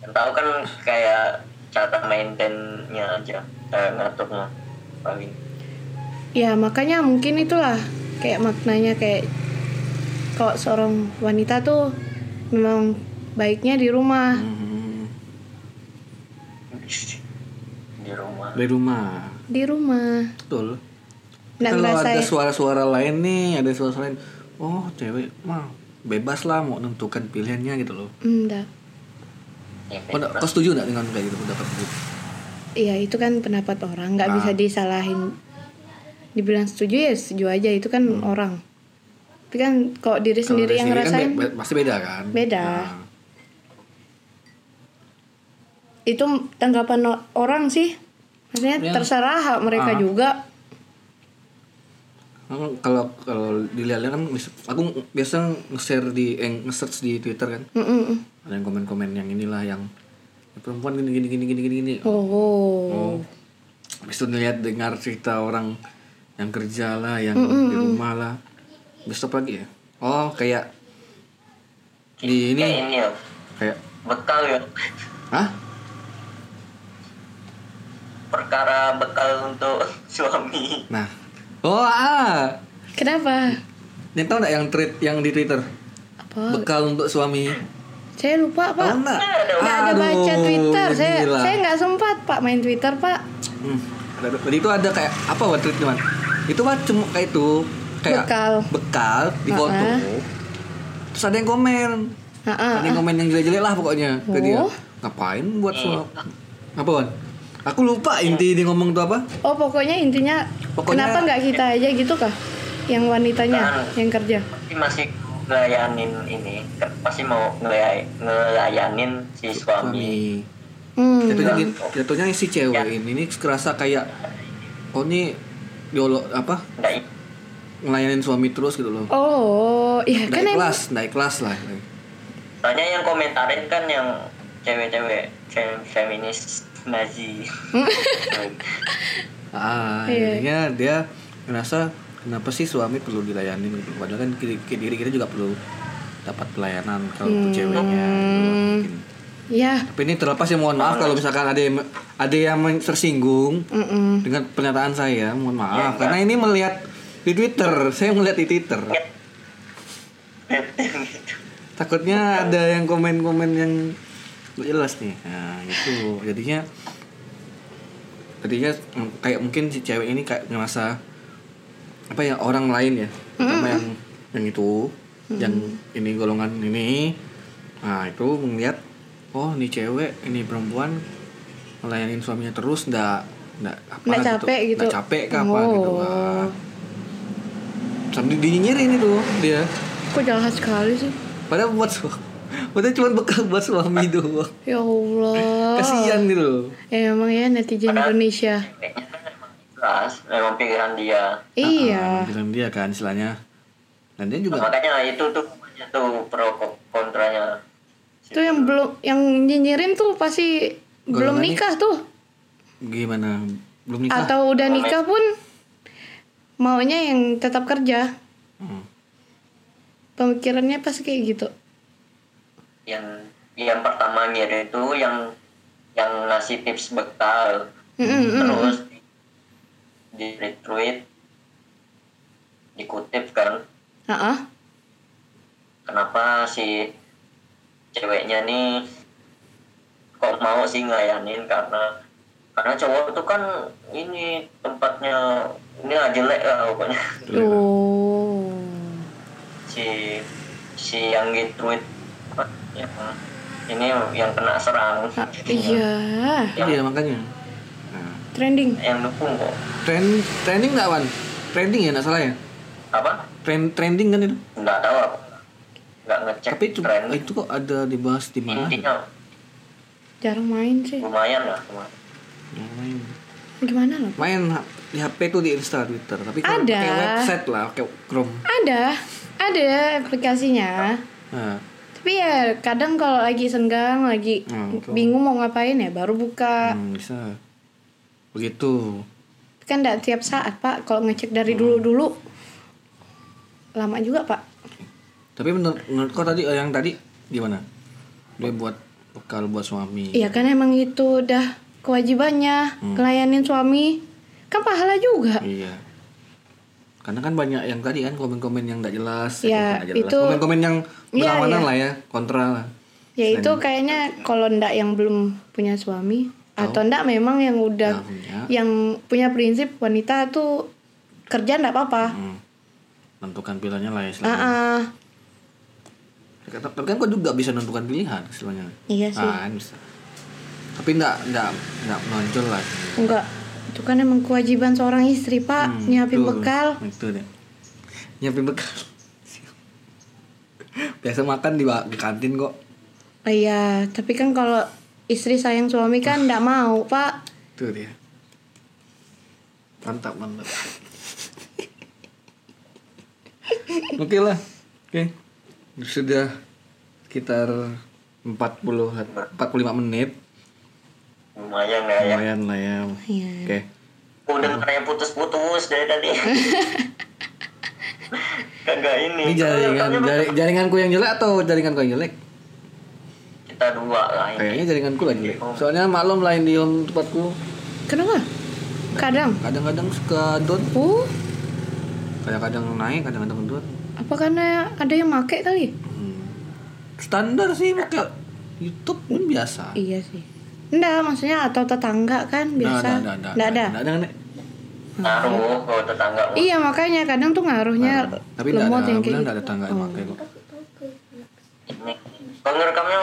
Speaker 3: yang tahu kan kayak cara maintainnya aja eh, ngaturnya paling
Speaker 2: Ya makanya mungkin itulah kayak maknanya kayak kalau seorang wanita tuh memang baiknya di rumah.
Speaker 1: Mhm.
Speaker 3: di rumah
Speaker 1: Dari rumah.
Speaker 2: Di rumah.
Speaker 1: Betul.
Speaker 2: Nggak ya.
Speaker 1: Kalau ada
Speaker 2: ngerasain.
Speaker 1: suara-suara lain nih, ada suara-suara lain. Oh, cewek mah bebas lah mau menentukan pilihannya gitu loh.
Speaker 2: Enggak.
Speaker 3: Ya,
Speaker 1: Kau, nggak- kau setuju nggak dengan kayak gitu pendapat itu?
Speaker 2: Iya itu kan pendapat orang nggak
Speaker 1: Ah.
Speaker 2: bisa disalahin. Dibilang setuju ya setuju aja itu kan orang. Tapi kan kalau diri
Speaker 1: Hmm. Kalau
Speaker 2: sendiri
Speaker 1: dari
Speaker 2: yang
Speaker 1: sendiri
Speaker 2: ngerasain
Speaker 1: kan be- be- pasti beda kan?
Speaker 2: Beda.
Speaker 1: Nah,
Speaker 2: itu tanggapan o- orang sih. Maksudnya
Speaker 1: Ya.
Speaker 2: terserah hak mereka
Speaker 1: Ah.
Speaker 2: juga.
Speaker 1: Emang Nah, kan kalau kalau dilihat kan mis- aku biasa nge-share di eh, nge-search di Twitter kan.
Speaker 2: Mm-mm.
Speaker 1: Ada yang komen-komen yang inilah yang "Ya, perempuan gini gini gini gini gini gini.
Speaker 2: Oh.
Speaker 1: Oh.
Speaker 2: Hmm.
Speaker 1: Habis itu ngeliat dengar cerita orang yang kerja lah,
Speaker 2: Hmm,
Speaker 1: yang di rumah lah. Besok lagi ya? Oh, kayak di ini
Speaker 3: kayak ini ya
Speaker 1: kayak
Speaker 3: bekal ya
Speaker 1: Hah?
Speaker 3: perkara bekal untuk suami
Speaker 1: Nah. Oh, ah.
Speaker 2: Kenapa?
Speaker 1: Ini tau nggak yang tweet yang di Twitter?
Speaker 2: Apa?
Speaker 1: Bekal untuk suami.
Speaker 2: saya lupa pak.
Speaker 1: Tahu nggak?
Speaker 2: Nggak ada
Speaker 1: Oh, Aduh,
Speaker 2: baca Twitter. Saya
Speaker 1: gila.
Speaker 2: saya nggak sempat pak main Twitter pak.
Speaker 1: Hmm. Ada- Tadi itu ada kayak apa buat tweet cuman? Itu mah cuma kayak itu kayak
Speaker 2: Bekal.
Speaker 1: bekal di foto.
Speaker 2: Ah.
Speaker 1: Terus ada yang komen.
Speaker 2: Ah, ah,
Speaker 1: Ada yang komen yang jelek-jelek lah pokoknya ke dia.
Speaker 2: Oh.
Speaker 1: Ngapain buat suap? Apa, Wan? Aku lupa inti dia ngomong tuh apa?
Speaker 2: Oh pokoknya intinya
Speaker 1: Pokoknya- Nah.
Speaker 2: kenapa nggak kita aja gitu kah? Yang wanitanya
Speaker 3: Bukan.
Speaker 2: yang kerja.
Speaker 3: Tapi masih ngelayanin ini kan pasti mau ngelay- ngelayanin si suami
Speaker 1: Suami.
Speaker 2: Hmm.
Speaker 1: Jatuhnya, gini- jatuhnya si cewek ini nih kerasa kayak oh ini diolo apa
Speaker 3: nggak i-
Speaker 1: ngelayanin suami terus gitu loh.
Speaker 2: Oh iya
Speaker 1: Nggak
Speaker 2: kan emang
Speaker 1: ikhlas, nggak ikhlas lah.
Speaker 3: soalnya yang komentarin kan yang cewek-cewek fem- feminis Nazi
Speaker 1: Ah,
Speaker 2: Iya.
Speaker 1: akhirnya dia ngerasa kenapa sih suami perlu dilayanin gitu. Padahal kan diri, diri kita juga perlu dapat pelayanan kalau untuk ceweknya. gitu loh, mungkin.
Speaker 2: ya.
Speaker 1: Tapi ini terlepas ya mohon maaf kalau misalkan ada yang ada yang men- tersinggung
Speaker 2: Mm-mm.
Speaker 1: dengan pernyataan saya, mohon maaf.
Speaker 3: enggak.
Speaker 1: Karena ini melihat di Twitter, saya melihat di Twitter. Takutnya ada yang komen-komen yang nggak jelas nih. Nah, gitu. Jadinya jadinya mm, kayak mungkin si cewek ini kayak ngerasa apa ya orang lain ya, terutama yang yang itu, yang ini golongan ini. Nah, itu melihat oh, ini cewek, ini perempuan ngelayanin suaminya terus ndak ndak apa
Speaker 2: Nggak capek gitu.
Speaker 1: Nggak capek ke apa gitu.
Speaker 2: Oh.
Speaker 1: Nah, sampai dinyinyirin itu dia.
Speaker 2: Kok jahat sekali sih?
Speaker 1: Padahal buat suami Padahal cuma bekal buat suami doang
Speaker 2: Ya Allah.
Speaker 1: Kasian gitu loh
Speaker 2: Emang ya netizen Indonesia.
Speaker 3: kayaknya kan emang ikhlas memang pilihan dia
Speaker 1: Ah,
Speaker 2: Iya.
Speaker 1: Bilang dia kan istilahnya Dan dia juga
Speaker 3: makanya itu tuh itu pro ko- kontranya
Speaker 2: Itu yang belum yang nyinyirin tuh pasti belum
Speaker 1: Golongan
Speaker 2: nikah tuh
Speaker 1: gimana Belum nikah
Speaker 2: atau udah nikah pun maunya yang tetap kerja.
Speaker 1: Hmm.
Speaker 2: Pemikirannya pasti kayak gitu.
Speaker 3: yang yang pertama dia itu yang yang ngasih tips bekal terus di retweet dikutip kan
Speaker 2: Heeh.
Speaker 3: kenapa si ceweknya nih kok mau sih ngelayanin karena karena cowok itu kan ini tempatnya ini lah jelek lah pokoknya
Speaker 2: Oh.
Speaker 3: si si yang retweet yang ini yang kena serang
Speaker 2: Ah, iya.
Speaker 1: Iya makanya nah,
Speaker 2: Trending.
Speaker 3: yang dukung kok
Speaker 1: Trend Trending gak Wan? Trending ya gak salah ya?
Speaker 3: apa
Speaker 1: Trend, trending kan itu
Speaker 3: nggak tahu aku nggak ngecek
Speaker 1: Tapi itu,
Speaker 3: tren
Speaker 1: itu kok ada dibahas di mana ya?
Speaker 3: intinya
Speaker 2: Jarang main sih.
Speaker 3: lumayan lah lumayan.
Speaker 1: Yang Main,
Speaker 2: Gimana loh?
Speaker 1: main ha- di HP tuh di Insta Twitter Tapi kalau
Speaker 2: Ada.
Speaker 1: pakai website lah Pakai Chrome
Speaker 2: Ada. Ada aplikasinya.
Speaker 1: nah,
Speaker 2: Tapi ya kadang kalau lagi senggang, lagi
Speaker 1: Hmm, betul.
Speaker 2: bingung mau ngapain ya baru buka.
Speaker 1: hmm, Bisa Begitu
Speaker 2: Kan enggak tiap saat, Pak. Kalau ngecek dari
Speaker 1: Hmm.
Speaker 2: dulu-dulu lama juga, Pak.
Speaker 1: Tapi menurut, menurut kau tadi eh, yang tadi gimana? Dia buat bekal buat suami.
Speaker 2: Iya kan emang itu udah kewajibannya
Speaker 1: Hmm.
Speaker 2: ngelayanin suami. Kan pahala juga.
Speaker 1: Iya. Karena kan banyak yang tadi kan komen-komen yang nggak jelas,
Speaker 2: Iya,
Speaker 1: komen nggak jelas.
Speaker 2: itu-
Speaker 1: komen-komen yang
Speaker 2: Iya,
Speaker 1: berlawanan
Speaker 2: iya.
Speaker 1: lah ya, kontra lah.
Speaker 2: Ya itu kayaknya kalau ndak yang belum punya suami atau ndak memang yang udah
Speaker 1: Nggak punya.
Speaker 2: yang punya prinsip wanita tuh kerja ndak apa-apa.
Speaker 1: Hmm. Tentukan pilihannya lah ya
Speaker 2: Ah,
Speaker 1: istilahnya.
Speaker 2: ah.
Speaker 1: Kata- Tapi kan kau juga bisa menentukan pilihan istilahnya.
Speaker 2: Iya sih.
Speaker 1: Ah, kan bisa. Tapi nggak nggak nggak menonjol lah.
Speaker 2: Enggak. Itu kan emang kewajiban seorang istri, Pak,
Speaker 1: Hmm,
Speaker 2: nyiapin
Speaker 1: betul.
Speaker 2: bekal.
Speaker 1: Itu deh. Nyiapin bekal. Biasa makan di, ba- di kantin kok.
Speaker 2: Oh, Iya, tapi kan kalau istri sayang suami kan enggak mau, Pak.
Speaker 1: Tuh dia. Mantap, mantap. Oke lah. Oke. Sudah sekitar 40 45 menit.
Speaker 3: lumayan lah ya
Speaker 1: Lumayan lah ya.
Speaker 2: Iya.
Speaker 1: Oke.
Speaker 3: aku dengar yang putus-putus dari tadi kagak ini
Speaker 1: kan- Ini jaringan jari- jaringanku yang jelek atau jaringanku yang jelek?
Speaker 3: kita dua lah ini.
Speaker 1: Kayaknya jaringanku lagi. Lek. Soalnya maklum lain di home tempatku
Speaker 2: Kenapa? Kadang.
Speaker 1: kadang-kadang suka down,
Speaker 2: Oh,
Speaker 1: kadang-kadang naik, kadang-kadang down.
Speaker 2: apa karena ada yang make kali?
Speaker 1: Hmm. Standar sih pakai YouTube pun biasa.
Speaker 2: Iya sih. Enggak, maksudnya atau tetangga kan biasa.
Speaker 1: Nggak, nggak,
Speaker 2: Nggak ada.
Speaker 1: nggak ada. Nek.
Speaker 3: Ngaruh kalau tetangga mau.
Speaker 2: Iya, makanya kadang tuh ngaruhnya
Speaker 1: Tapi nggak
Speaker 2: lemot
Speaker 1: ada,
Speaker 2: yang
Speaker 1: bilang
Speaker 2: kayak gitu. Hmm. Oh.
Speaker 1: nggak ada tangga yang pakai kok.
Speaker 3: ini. Kalau ngerekamnya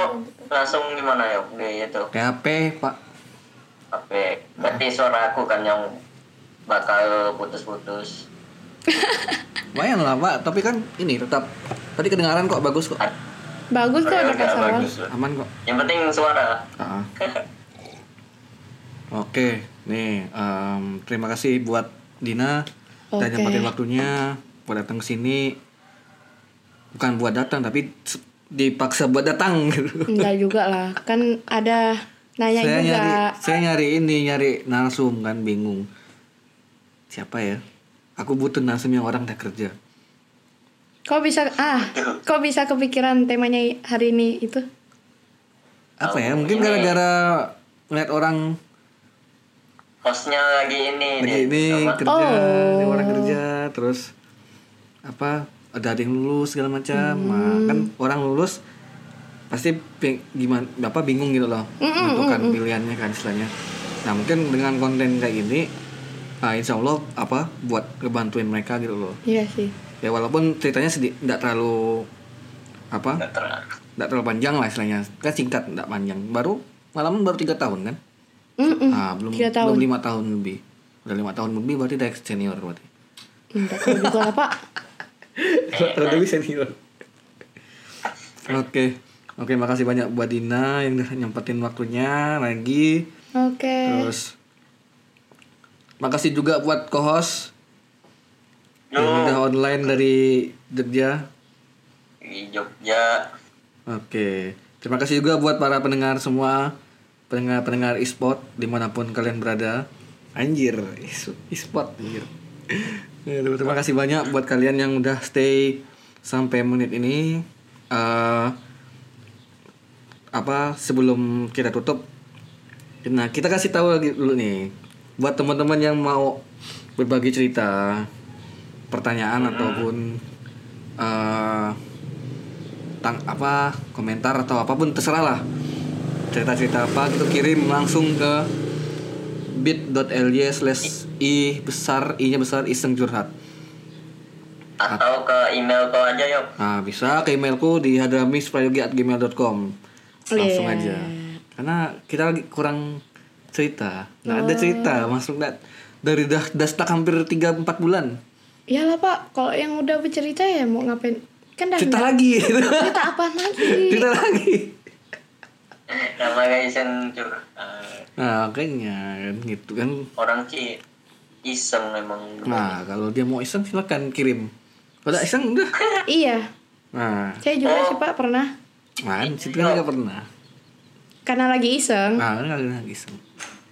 Speaker 3: langsung gimana ya? Di itu.
Speaker 1: Kayak HP, Pak.
Speaker 3: HP. Berarti suara aku kan yang bakal putus-putus.
Speaker 1: Lumayan lah, Pak. Tapi kan ini tetap tadi kedengaran kok bagus kok.
Speaker 2: Bagus tuh ada
Speaker 3: Suaranya nggak
Speaker 2: kasar.
Speaker 3: bagus lah.
Speaker 1: Aman kok.
Speaker 3: Yang penting suara.
Speaker 1: Ah. Oke, nih em, terima kasih buat Dina dan
Speaker 2: Oke.
Speaker 1: nyempatin waktunya buat datang ke sini. Bukan buat datang tapi s- dipaksa buat datang. gitu.
Speaker 2: Enggak juga lah, kan ada nanya
Speaker 1: saya
Speaker 2: juga.
Speaker 1: nyari saya nyari ini nyari narsum kan bingung. Siapa ya? Aku butuh narsum yang orang udah kerja.
Speaker 2: Kok bisa ah, kok bisa kepikiran temanya hari ini itu?
Speaker 1: Apa ya? Mungkin gara-gara ngeliat orang
Speaker 3: Hostnya lagi ini.
Speaker 1: lagi
Speaker 3: nih.
Speaker 1: ini
Speaker 3: Apa? Oh.
Speaker 1: kerja, ini orang kerja, terus apa ada ada yang lulus segala macam,
Speaker 3: Hmm.
Speaker 1: Nah, kan orang lulus pasti ping- gimana, bapak bingung gitu loh
Speaker 3: Hmm,
Speaker 1: menentukan pilihannya kan istilahnya. Nah mungkin dengan konten kayak gini, nah, insya Allah apa buat ngebantuin mereka gitu loh.
Speaker 2: Iya sih.
Speaker 1: Ya walaupun ceritanya sedih, tidak terlalu apa,
Speaker 3: Nggak terang.
Speaker 1: tidak terlalu panjang lah istilahnya, kan singkat, tidak panjang. Baru malam baru tiga tahun kan?
Speaker 2: Mm-mm.
Speaker 1: Ah, belum
Speaker 2: Hmm, Tiga tahun.
Speaker 1: belum lima tahun lebih. Udah lima tahun lebih berarti udah senior berarti.
Speaker 2: Enggak tahu juga lah, Pak.
Speaker 1: Lima tahun lebih senior. Oke. Oke, makasih banyak buat Dina yang udah nyempetin waktunya lagi.
Speaker 2: Oke.
Speaker 1: Terus makasih juga buat co-host yang
Speaker 3: Yo.
Speaker 1: udah online dari Jogja.
Speaker 3: Di Jogja.
Speaker 1: Oke. Terima kasih juga buat para pendengar semua, pendengar-pendengar e-sport dimanapun kalian berada. Anjir, e-s- e-sport anjir. Aduh, Terima kasih banyak buat kalian yang udah stay sampai menit ini. Eh, apa sebelum kita tutup, nah kita kasih tahu lagi dulu nih buat teman-teman yang mau berbagi cerita, pertanyaan ataupun eh, tang apa komentar atau apapun terserah lah cerita-cerita apa gitu kirim langsung ke bit.ly slash i besar i nya besar iseng curhat
Speaker 3: Atau ke email kau aja yuk.
Speaker 1: nah bisa ke emailku di hadramisprayogi@gmail.com langsung
Speaker 2: Yeah.
Speaker 1: aja karena kita lagi kurang cerita nah ada cerita masuk dat- dari dah dastak hampir 3-4 bulan
Speaker 2: Iyalah, Iya Pak. Kalau yang udah bercerita ya mau ngapain? Kan dah
Speaker 1: cerita lagi
Speaker 2: cerita apa lagi?
Speaker 1: cerita lagi
Speaker 3: Nama Gaisen curhat.
Speaker 1: nah kayaknya kan gitu kan
Speaker 3: Eh, Orang Ci iseng memang.
Speaker 1: Nah, kalau dia mau iseng silakan kirim. Kalau nggak iseng udah.
Speaker 2: iya.
Speaker 1: Nah,
Speaker 2: Saya juga sih, Pak, pernah
Speaker 1: man, situ kan nggak pernah.
Speaker 2: karena lagi iseng.
Speaker 1: Nah, kan nggak pernah iseng.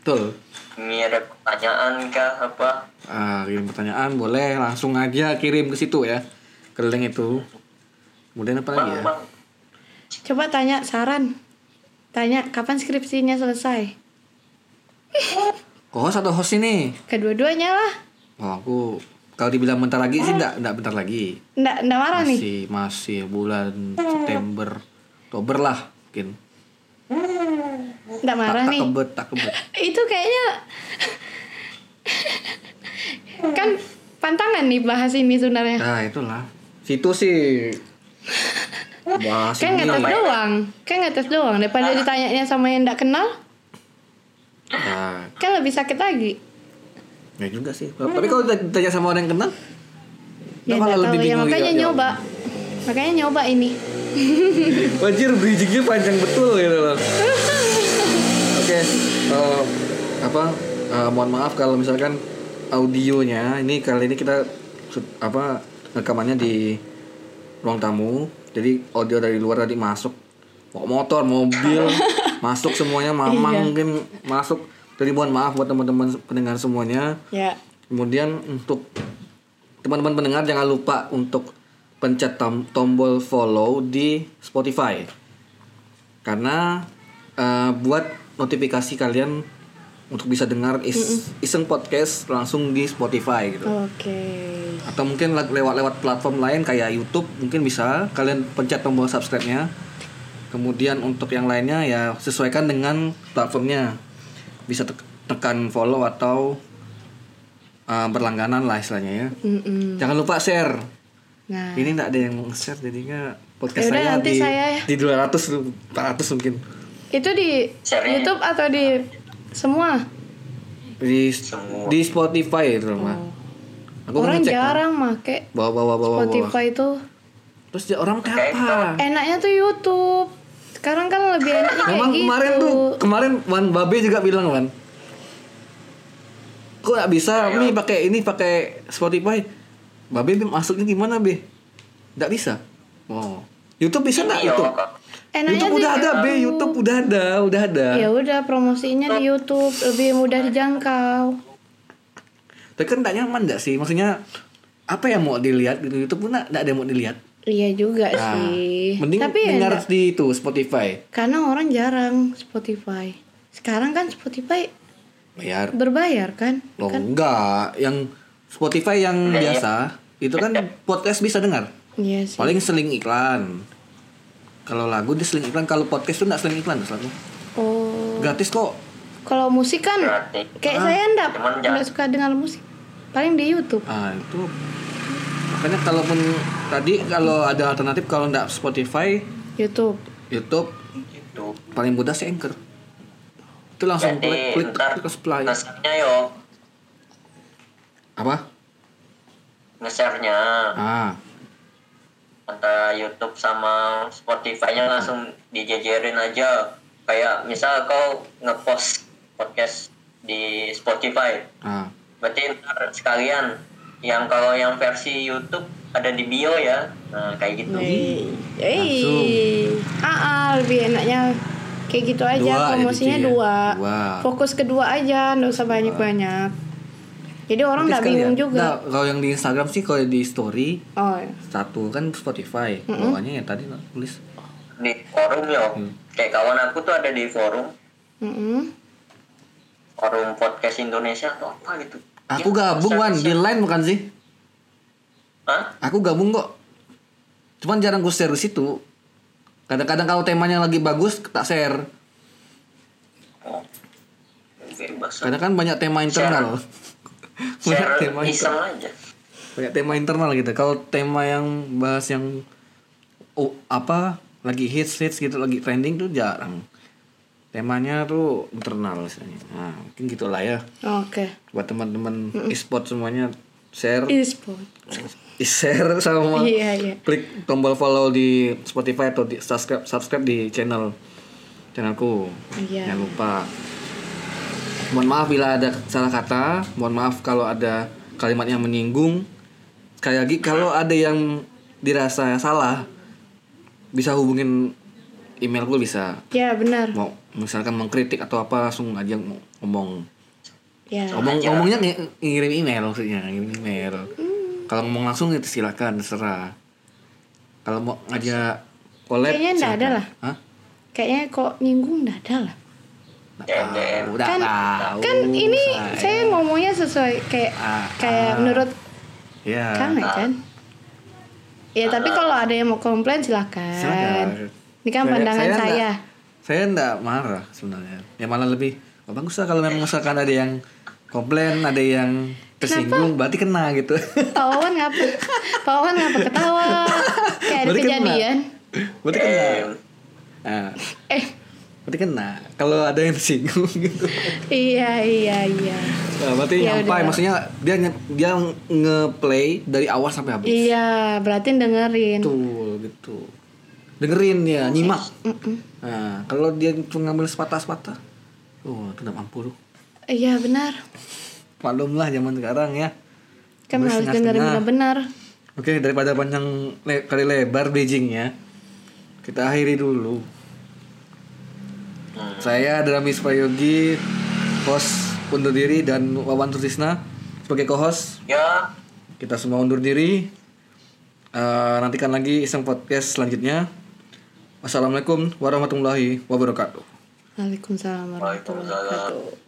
Speaker 1: Betul.
Speaker 3: Ini ada pertanyaan kah apa?
Speaker 1: Ah, kirim pertanyaan boleh langsung aja kirim ke situ ya. Ke link itu. Kemudian apa lagi ya?
Speaker 3: Bang, bang.
Speaker 2: Coba tanya saran. Tanya kapan skripsinya selesai.
Speaker 1: Host atau host ini?
Speaker 2: Kedua-duanya lah.
Speaker 1: Wah, aku kalau dibilang bentar lagi sih enggak, enggak bentar lagi.
Speaker 2: Nggak, nggak marah nih.
Speaker 1: Masih masih bulan September, Oktober lah mungkin.
Speaker 2: Nggak
Speaker 1: Tak,
Speaker 2: marah
Speaker 1: tak
Speaker 2: nih.
Speaker 1: kebet, tak kebet.
Speaker 2: Itu kayaknya... kan pantangan nih bahas ini sebenarnya.
Speaker 1: Nah, itulah. Situ sih bahas
Speaker 2: Kan
Speaker 1: ini.
Speaker 2: ngetes doang. Kan ngetes doang. Daripada ditanyanya sama yang nggak kenal,
Speaker 1: Nah,
Speaker 2: kan lebih sakit lagi.
Speaker 1: Ya juga sih. Tapi kalau ditanya sama orang yang kenal, dia
Speaker 2: Ya,
Speaker 1: malah
Speaker 2: Hmm. nggak tahu.
Speaker 1: Nah, lebih
Speaker 2: ya
Speaker 1: bingung
Speaker 2: makanya
Speaker 1: gitu.
Speaker 2: nyoba. Makanya nyoba ini.
Speaker 1: Anjir, bridgingnya panjang betul gitu loh. Oke, eh, apa? eh, mohon maaf kalau misalkan audionya ini kali ini kita su- apa rekamannya di ruang tamu. Jadi audio dari luar tadi masuk. Mau motor, mobil, masuk semuanya, mamang mungkin masuk. Jadi mohon maaf buat teman-teman pendengar semuanya.
Speaker 2: Ya.
Speaker 1: Kemudian untuk teman-teman pendengar jangan lupa untuk pencet tom- tombol follow di Spotify. karena eh, buat notifikasi kalian untuk bisa dengar is- iseng podcast langsung di Spotify gitu
Speaker 2: Oke.
Speaker 1: atau mungkin le- lewat-lewat platform lain kayak YouTube mungkin bisa kalian pencet tombol subscribe-nya kemudian untuk yang lainnya ya sesuaikan dengan platformnya bisa tek- tekan follow atau uh, berlangganan lah istilahnya ya
Speaker 2: Mm-mm.
Speaker 1: jangan lupa share
Speaker 2: Hmm. Nah,
Speaker 1: ini nggak ada yang share jadinya podcast
Speaker 2: Yaudah,
Speaker 1: saya
Speaker 2: nanti
Speaker 1: di
Speaker 2: saya ya.
Speaker 1: di 200 lu- 400 mungkin
Speaker 2: itu di
Speaker 3: Share-nya.
Speaker 2: YouTube atau di semua?
Speaker 1: di
Speaker 3: Semua.
Speaker 1: di Spotify itu mah aku mau
Speaker 2: Oh. Orang
Speaker 1: ngecek kan. Oh.
Speaker 2: jarang make
Speaker 1: bawa bawa bawa bawa
Speaker 2: Spotify itu.
Speaker 1: terus dia orang
Speaker 3: Kayak
Speaker 1: kapan
Speaker 2: Enaknya tuh YouTube. Sekarang kan lebih enaknya kayak
Speaker 1: Memang
Speaker 2: gitu.
Speaker 1: kemarin tuh, kemarin Wan Babe juga bilang Wan. Kok nggak bisa Mi pakai ini pakai Spotify? Babe Bi, masuknya gimana Be? Nggak bisa. Oh. YouTube bisa
Speaker 2: Iya,
Speaker 1: nggak
Speaker 3: Yo,
Speaker 1: YouTube?
Speaker 2: Enaknya
Speaker 1: YouTube
Speaker 2: di
Speaker 1: udah ada Be, YouTube udah ada, udah ada.
Speaker 2: Ya udah promosinya di YouTube lebih mudah dijangkau.
Speaker 1: Tapi kan nggak nyaman nggak sih? Maksudnya apa yang mau dilihat di YouTube pun nggak nggak ada yang mau dilihat.
Speaker 2: Iya juga
Speaker 1: Nah,
Speaker 2: sih.
Speaker 1: mending
Speaker 2: Tapi ya
Speaker 1: dengar
Speaker 2: enggak-
Speaker 1: di itu Spotify.
Speaker 2: karena orang jarang Spotify. Sekarang kan Spotify
Speaker 1: Bayar.
Speaker 2: berbayar kan?
Speaker 1: Oh, enggak, yang Spotify yang
Speaker 3: Iya, iya.
Speaker 1: biasa itu kan podcast bisa dengar.
Speaker 2: Iya sih.
Speaker 1: Paling seling iklan. Kalau lagu dia seling iklan, kalau podcast tuh nggak seling iklan selalu.
Speaker 2: Oh.
Speaker 1: Gratis kok.
Speaker 2: Kalau musik kan
Speaker 3: Berarti.
Speaker 2: kayak saya enggak
Speaker 3: Cuman jangan-
Speaker 2: enggak suka dengar musik. Paling di YouTube.
Speaker 1: Ah, itu makanya kalaupun tadi kalau ada alternatif kalau nggak Spotify,
Speaker 2: YouTube.
Speaker 1: YouTube
Speaker 3: gitu.
Speaker 1: paling mudah sih Anchor. Itu langsung klik
Speaker 3: Jadi
Speaker 1: klik,
Speaker 3: ntar
Speaker 1: klik play.
Speaker 3: nge-share-nya yo,
Speaker 1: Apa?
Speaker 3: nge-share-nya
Speaker 1: Ah,
Speaker 3: antara YouTube sama Spotify-nya langsung dijejerin aja. Kayak misal kau ngepost podcast di Spotify,
Speaker 1: ah.
Speaker 3: berarti ntar sekalian yang kalau yang versi YouTube ada di bio ya, nah kayak gitu.
Speaker 2: Wih.
Speaker 1: Langsung.
Speaker 2: Ah, ah, lebih enaknya kayak gitu aja
Speaker 1: Dua,
Speaker 2: promosinya
Speaker 1: ya, gitu ya.
Speaker 2: dua.
Speaker 1: Dua.
Speaker 2: Fokus kedua aja, nggak usah banyak-banyak. Jadi
Speaker 1: Tapi
Speaker 2: orang nggak
Speaker 1: sekalian.
Speaker 2: bingung
Speaker 1: Nah,
Speaker 2: juga.
Speaker 1: kalau yang di Instagram sih kalau di story
Speaker 2: Oh.
Speaker 1: satu kan Spotify, bawahnya ya tadi tulis
Speaker 3: Di forum yo,
Speaker 1: Hmm.
Speaker 3: kayak kawan aku tuh ada di forum
Speaker 2: Mm-mm.
Speaker 3: forum podcast Indonesia atau apa gitu.
Speaker 1: Aku
Speaker 3: Dia
Speaker 2: Iya,
Speaker 1: gabung Wan, di
Speaker 3: share-share.
Speaker 1: line bukan sih?
Speaker 3: Hah?
Speaker 1: Aku gabung kok. Cuman jarang gue share di situ. Kadang-kadang kalau temanya lagi bagus tak share.
Speaker 3: Oh. Bebas.
Speaker 1: Karena kan banyak tema internal. banyak
Speaker 3: Share
Speaker 1: tema
Speaker 3: iseng
Speaker 1: internal.
Speaker 3: aja.
Speaker 1: Banyak tema internal gitu. Kalau tema yang bahas yang oh, apa lagi hits hits gitu lagi trending tuh jarang. Temanya tuh internal misalnya. Nah, mungkin gitulah ya
Speaker 2: Oke.
Speaker 1: buat teman-teman e-sport semuanya share
Speaker 2: E-sport.
Speaker 1: share sama
Speaker 2: Iya, iya.
Speaker 1: klik tombol follow di Spotify atau di subscribe subscribe di channel channelku
Speaker 2: Iya.
Speaker 1: jangan lupa mohon maaf bila ada salah kata mohon maaf kalau ada kalimat yang menyinggung sekali lagi kalau ada yang dirasa salah bisa hubungin emailku bisa
Speaker 2: Ya, benar.
Speaker 1: mau misalkan mengkritik atau apa langsung aja ngomong
Speaker 2: Ya.
Speaker 1: ngomong ngomongnya ng- ngirim email maksudnya ngirim email kalau ngomong langsung itu silakan terserah kalau mau ngajak collab
Speaker 2: Kayaknya nggak ada
Speaker 1: silakan.
Speaker 2: lah.
Speaker 1: Hah?
Speaker 2: Kayaknya kok nyinggung nggak ada lah.
Speaker 1: Nggak tahu, nggak
Speaker 2: kan
Speaker 1: tahu.
Speaker 2: kan ini saya ngomongnya sesuai kayak
Speaker 1: Oh, Ah,
Speaker 2: kayak
Speaker 1: ah.
Speaker 2: menurut
Speaker 1: ya
Speaker 2: Kang ya kan ya tapi kalau ada yang mau komplain silahkan,
Speaker 1: Silakan.
Speaker 2: ini kan pandangan saya,
Speaker 1: nggak- saya nggak marah sebenarnya ya malah lebih oh, bagus lah kalau memang misalkan ada yang komplain ada yang tersinggung berarti kena gitu
Speaker 2: Pak Wawan ngapa Pak Wawan ngapa ketawa kayak ada
Speaker 1: Berarti kena.
Speaker 2: kejadian
Speaker 1: berarti kena nah,
Speaker 2: eh
Speaker 1: berarti kena kalau ada yang tersinggung gitu
Speaker 2: iya iya iya
Speaker 1: Nah, berarti
Speaker 2: Ya
Speaker 1: nyampai
Speaker 2: udah.
Speaker 1: maksudnya dia nge- dia ngeplay dari awal sampai habis.
Speaker 2: iya berarti dengerin
Speaker 1: Betul gitu. Dengerin ya, nyimak.
Speaker 2: Mm-mm.
Speaker 1: Nah, kalau dia cuma ngambil sepatah-sepatah. Oh, itu enggak mampu tuh.
Speaker 2: iya benar
Speaker 1: Maklumlah zaman sekarang ya.
Speaker 2: kan
Speaker 1: Boleh
Speaker 2: harus
Speaker 1: setengah-setengah.
Speaker 2: dengerin benar-benar
Speaker 1: Oke, daripada panjang le- kali lebar bridgingnya, kita akhiri dulu. Saya Dramis Prayogi, host undur diri dan Wawan Sutisna sebagai co-host.
Speaker 3: Ya,
Speaker 1: kita semua undur diri Eh, nantikan lagi iseng podcast selanjutnya
Speaker 4: Assalamualaikum warahmatullahi wabarakatuh.
Speaker 1: Waalaikumsalam warahmatullahi
Speaker 2: Waalaikumsalam.
Speaker 1: wabarakatuh.